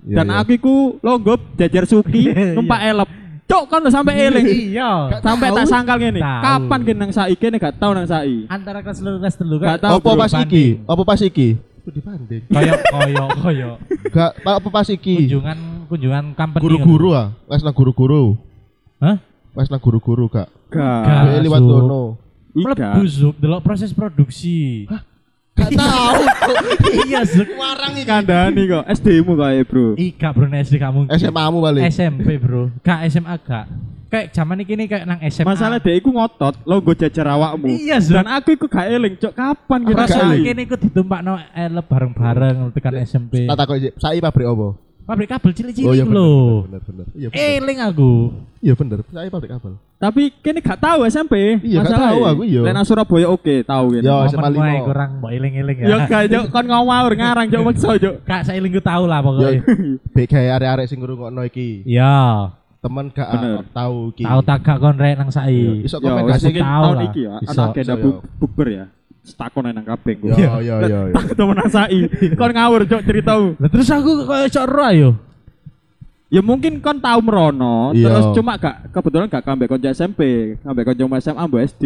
C: Iya,
B: Dan
C: iya.
B: aku iku longgop jajar
C: [laughs]
B: suki numpak elep. Cok kan udah sampai eling.
A: Iya.
B: Sampai tak sangkal ngene.
A: Tahu.
B: Kapan kene nang saiki kene gak tau nang sai.
A: Antara kelas loro kelas telu kan.
B: Gak tahu,
C: Apa
B: bro.
C: pas iki? Apa pas iki? Itu dibanding.
A: Koyo koyo koyo.
C: Gak apa pas iki?
A: Kunjungan kunjungan company.
C: Iya. Guru-guru ah, les nang guru-guru.
A: Hah?
C: Les nang guru-guru gak.
A: Gak.
B: Gak.
C: Dek liwat
A: Zuk.
C: kono.
A: Mlebu Zuk, delok proses produksi.
B: [laughs]
C: Gak tahu.
A: [laughs] iya Zuk.
C: Warang iki.
B: Kandani kok SD mu kae, Bro.
A: Ih, gak bro SD kamu.
C: SMA-mu balik.
A: SMP, Bro. Gak SMA gak. Kayak zaman iki nih kayak nang SMA.
B: Masalah dek iku ngotot longgo jajar awakmu.
A: Iya, Zuk.
B: Dan aku iku gak eling, Cok. Kapan kene nang
A: Perasaan
B: sai?
A: kene iku ditumpakno elep bareng-bareng tekan SMP.
C: Tak takok sik, saiki pabrik apa?
A: Pabrik kabel cilik-cilik
C: iya
A: iku lho.
C: bener bener. bener. Iya
B: Eh.
C: bener.
A: Eling aku.
C: Iya bener. Saiki pabrik kabel.
B: Tapi kene gak tahu SMP.
C: Iya, gak
B: masalahnya.
C: tahu aku, iya.
B: ya. Lek nang Surabaya oke, tahu kene.
C: Yo SMA
A: Momen wae
C: 5.
A: kurang mbok eling-eling ya.
B: Ya gak, Cok. Kon ngawur ngarang, Cok. Maksa, Cok.
A: Kak saya ku tahu lah
C: Yo
A: pokoknya.
C: [laughs] bek gawe arek-arek sing ngrungokno iki.
A: Iya,
C: Temen gak
B: Bener.
C: tahu iki.
A: tahu tak gak kon rek nang sai.
C: Iya,
B: Ya,
C: Iso komen
B: wes
C: gak sih?
B: mungkin
A: Tahu
B: tahun
A: lah.
B: iki ya,
A: Iso,
B: ana agenda
C: iso,
B: bu- bukber ya. Setakon nang kabeh [laughs]
C: Yo
B: gua.
C: yo yo yo.
B: Ketemu nang sai. Kon ngawur cok ceritamu.
A: Lah terus aku koyo cok ro ayo.
B: Ya mungkin kon tahu merono,
C: Iya.
B: terus cuma gak kebetulan gak kambek konco SMP, kambek konco SMA mbok SD.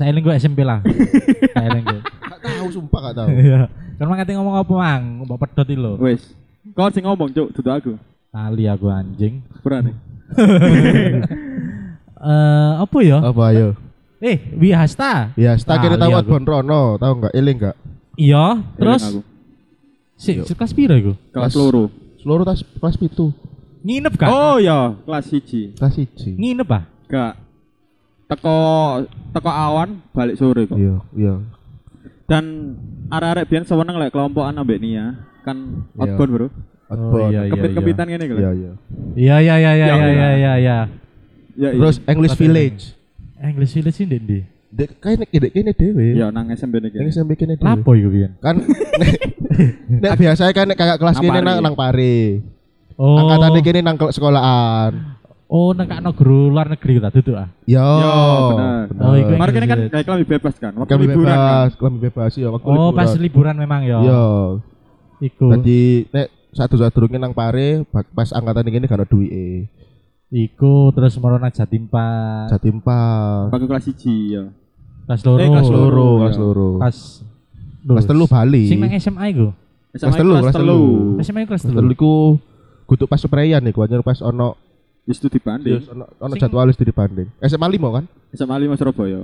A: Saya eling gua SMP [laughs] lah. Saya eling gua.
C: Gak tahu sumpah gak tahu.
A: Iya. Kon mang kate ngomong apa mang? Mbok pedot iki lho.
B: Wes. Kon sing ngomong cok, duduk aku.
A: Tali aku anjing.
B: Berani.
A: [laughs] Eh apa ya?
C: Apa ayo?
A: Eh, Wihasta.
C: Ya, tak kira
A: Tali
C: tahu
A: aku.
C: Bonrono, tahu enggak eling enggak?
A: Iya,
B: Eling aku.
A: terus si si kelas piro iku?
B: kelas
C: Kelas-
B: loro.
C: Seluruh tas kelas pitu,
A: Nginep kan?
B: Oh ya, kelas 1.
C: kelas siji.
A: Nginep ah.
B: Gak teko teko awan balik sore kok.
C: Iya, iya.
B: Dan arek-arek biyen seneng lek kelompokan ambek Nia, kan
C: Iya.
B: outbound bro.
C: Outbound.
A: iya, iya.
B: Kepit-kepitan ngene iki lho.
C: Iya, iya.
A: Iya, iya, iya, iya,
B: Ya,
A: iya, iya, iya, iya.
B: Ya, iya.
C: Terus English
A: Tapi-
C: Village.
A: English Village sih ndek ndi?
C: Dek kene dek kene dhewe.
B: Ya nang SMP
C: Ning
B: niki.
C: sampe kene dhewe.
A: Lapo iku pian?
C: Kan
A: [laughs]
C: nek nek biasanya kan nek kakak kelas
B: Nang
C: kene
B: pare.
C: nang nang pare.
A: Oh.
C: Angkatane kene nang ke- sekolahan.
A: Oh, nang kakno guru luar negeri ku tak duduk ah.
C: Yo.
B: Yo, bener.
A: Oh, iku
B: Kemarin kene kan
A: English.
B: naik lebih bebas kan, waktu
C: Kami
B: liburan kan.
C: bebas, kami bebas ya waktu
A: Oh, pas
C: liburan.
A: liburan memang ya.
C: Yo.
A: Iku.
C: Tadi nek satu sadurunge nang pare bak- pas angkatan kene gak ono duwike.
A: Iku terus merona Jatim Pak.
C: Jatim Pak.
B: Pakai kelas 1 ya.
A: Kelas loro.
B: Eh, kelas loro.
C: Loro, kelas
B: Iya.
C: loro.
A: Kelas
C: Kelas telu Bali.
A: Sing nang SMA iku.
B: SMA
C: Kelas telu, kelas telu.
A: SMA iku kelas
C: Terus
A: telu.
C: iku kudu pas suprayan iku anjir pas ono
B: Wis itu dibanding.
C: ono ono
A: Sing-
C: jadwal wis dibanding. SMA 5 kan?
B: SMA 5
C: Iya.
B: Surabaya.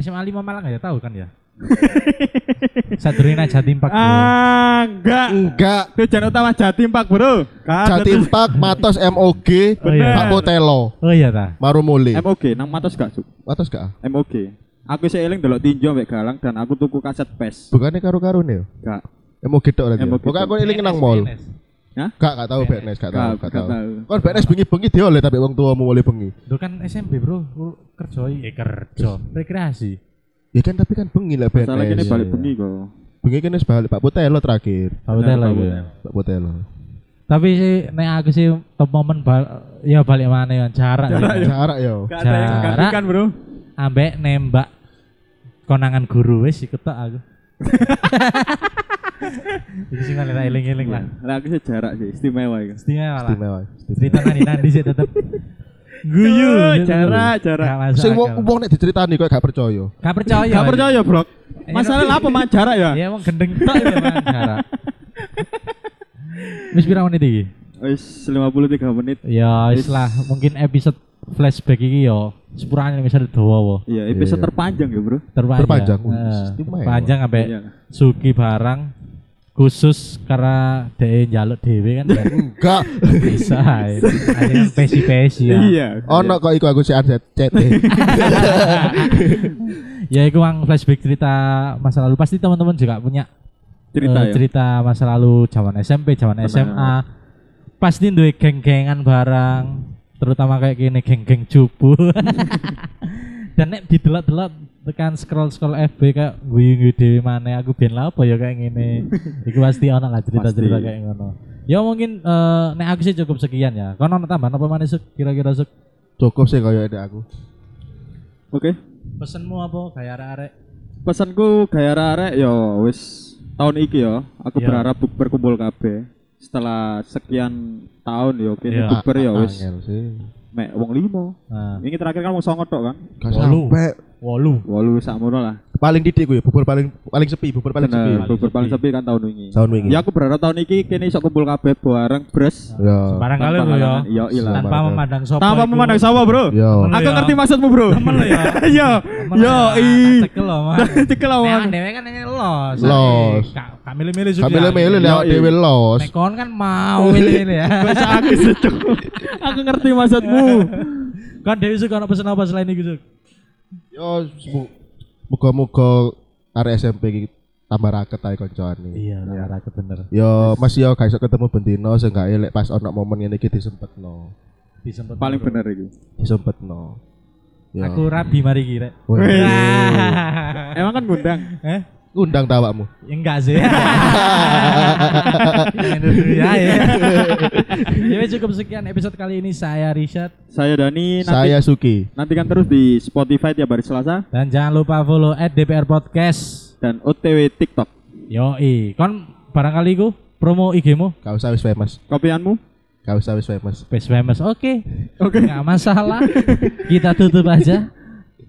A: SMA 5 Malang ya tahu kan ya. [laughs] Sadurunge nang Jatim Pak.
B: Ah, enggak.
C: Enggak.
B: Tujuan utama Jatim Pak, Bro. Kan
C: Uh. Jatim Pak, Matos MOG,
A: Oh, iya.
C: Pak Potelo,
A: Oh iya ta.
C: Marumuli.
B: MOG nang Matos gak, Cuk?
C: Matos gak? ah?
B: MOG. Aku sih eling delok tinju ambek galang dan aku tuku kaset PES.
C: Bukannya karo-karo nih ya?
B: Gak.
C: MOG tok nanti.
B: MOG
C: Pokoknya aku
B: tok.
C: eling nang
A: PNS,
C: mall.
A: PNS.
C: Gak gak tahu BNS, gak tahu,
B: Gak
C: gak tahu.
B: tahu.
C: Kon BNS bengi-bengi dioleh tapi wong tuamu oleh bengi.
A: Duh kan SMP, Bro. Lu Kerja ya kerja. Rekreasi.
C: Ya kan tapi kan bengi lah
A: E
C: BNS.
B: Masalah kene balik
C: Iya,
B: bengi
C: iya.
B: kok.
C: Bengi kene wis balik Pak Potelo terakhir.
A: Hotel
B: Benar,
A: lah
B: Pak,
A: iku.
B: benar.
C: Pak Potelo.
A: Tapi sih nek aku sih top momen bal ya balik mana ya jarak.
B: Jarak
A: ya.
B: ya.
C: Jarak yo.
B: Gak ada yang
A: Jarak.
B: menggantikan, Bro.
A: Ambek nembak konangan guru wis ketok [laughs] aku. Iki sing paling tak eling-eling lah.
B: Lah aku sih jarak sih, istimewa iku.
A: Iya. Istimewa lah.
C: Istimewa. istimewa.
A: Cerita nandi nandi sih tetep guyu.
B: Tuh, jarak, jarak.
A: Gak masuk
C: Sing wong
A: akal.
C: wong nek diceritani kok gak percaya.
A: Gak percaya. iya.
B: Gak percaya, Bro. Masalah lah apa man jarak ya?
A: Ya wong gendeng tok ya [laughs] Bang, jarak. Wis pira menit iki?
B: Wis 53 menit.
A: Ya wis
B: Wis.
A: lah, mungkin episode flashback iki yo sepurane wis ada dawa.
B: Iya, episode
C: Iya.
B: terpanjang ya, Bro.
A: Terpanjang.
C: Terpanjang. Wih,
A: Heeh.
C: istimewa.
A: Panjang Nah, sampai
B: Iya.
A: Sugi barang khusus karena dhewe njaluk dhewe kan ya.
B: [laughs]
C: Enggak.
A: bisa ae. Akhirnya pesi-pesi ya.
B: Iya.
C: Ono kok iku aku sih ada
B: [laughs]
C: CT.
A: Ya itu mang flashback cerita masa lalu pasti teman-teman juga punya
B: cerita
A: eh,
B: ya.
A: cerita masa lalu zaman SMP, zaman
B: Benar.
A: SMA. Pasti duwe geng-gengan barang, terutama kayak gini geng-geng cupu. [laughs] Dan nek didelok-delok tekan scroll-scroll FB kayak guyu-guyu dhewe maneh aku ben lah apa ya kayak
B: [laughs]
A: ngene. Iku pasti ono lah cerita-cerita
B: Pasti.
A: kayak ngono. Ya mungkin eh, nek aku sih cukup sekian ya. Kono ono tambahan apa maneh Suk? kira-kira Suk?
C: Cukup sih koyo ada aku.
B: Oke.
A: Pesenmu apa kayak arek-arek?
B: Pesanku gaya arek yo wis tahun iki yo. Aku
A: Iya.
B: berharap berkumpul kabeh. setelah sekian tahun ya oke
A: Iya.
B: youtuber ya wis
C: Angel sih.
B: mek wong limo
A: Nah,
B: ini terakhir kan wong songo tok kan
C: Gak
A: Walu.
C: sampai.
A: wolu.
B: walu sakmono lah
C: Paling didik gue, bubur paling paling sepi, bubur paling sepi.
B: bener bubur paling sepi kan tahun ini
C: Tahun wingi.
B: ya aku berharap tahun ini kene iso kumpul kabeh bareng bres
C: Ya.
A: Barang
B: Tanpa
A: kali lo ya.
B: halangan. Iya, iya.
A: Tanpa
C: Barang.
A: memandang sopo.
B: tanpa
A: iku.
B: memandang sawah bro
C: Ya.
A: Temen.
B: aku
A: Iya.
B: ngerti maksudmu bro
A: [laughs] Temen lo ya.
B: yo
A: Temen
B: yo
A: lo ya,
B: i
A: tak cekel lo,
B: [laughs]
A: Mas.
B: cekel
A: Nah,
B: awan
A: dewe kan ini los.
C: Los.
A: Kami milih-milih sudah.
B: ya?
C: Sampai le melu lewat
B: Yoi.
C: dewe los.
A: Mekon kan mau ini
B: [laughs]
A: ya.
B: bahasa aku sih Cuk. aku ngerti maksudmu
A: [laughs] Kan Dewi suka ono pesen apa selain itu, Cuk?
C: Yo Ya, semu- muga-muga arek SMP iki tambah raket ae koncoane.
A: Iya, rata bener.
C: Yo masih yo gak iso ketemu bendino seenggake lek pas ono momen ngene iki disempetno.
A: Disempet
B: paling
A: bener.
B: bener itu
C: Disempetno. Yo.
A: Aku rabi mari ki, Rek.
C: Wih.
B: emang kan ngundang
A: Eh?
C: Undang tawakmu.
A: Ya enggak sih. Ini dulu ya. ya. [laughs] Ya wes, cukup sekian episode kali ini saya Richard
B: saya Dani nanti
C: Saya Suki.
B: nantikan terus di Spotify tiap hari Selasa
A: dan jangan lupa follow @dpr podcast.
B: dan OTW TikTok
A: Yoi, kon barangkali ku promo IG-mu
C: Kau usah wis famous.
B: kopianmu
C: Kau usah wis famous.
A: Best Famous. Oke.
B: Oke.
A: Enggak masalah. Kita tutup aja.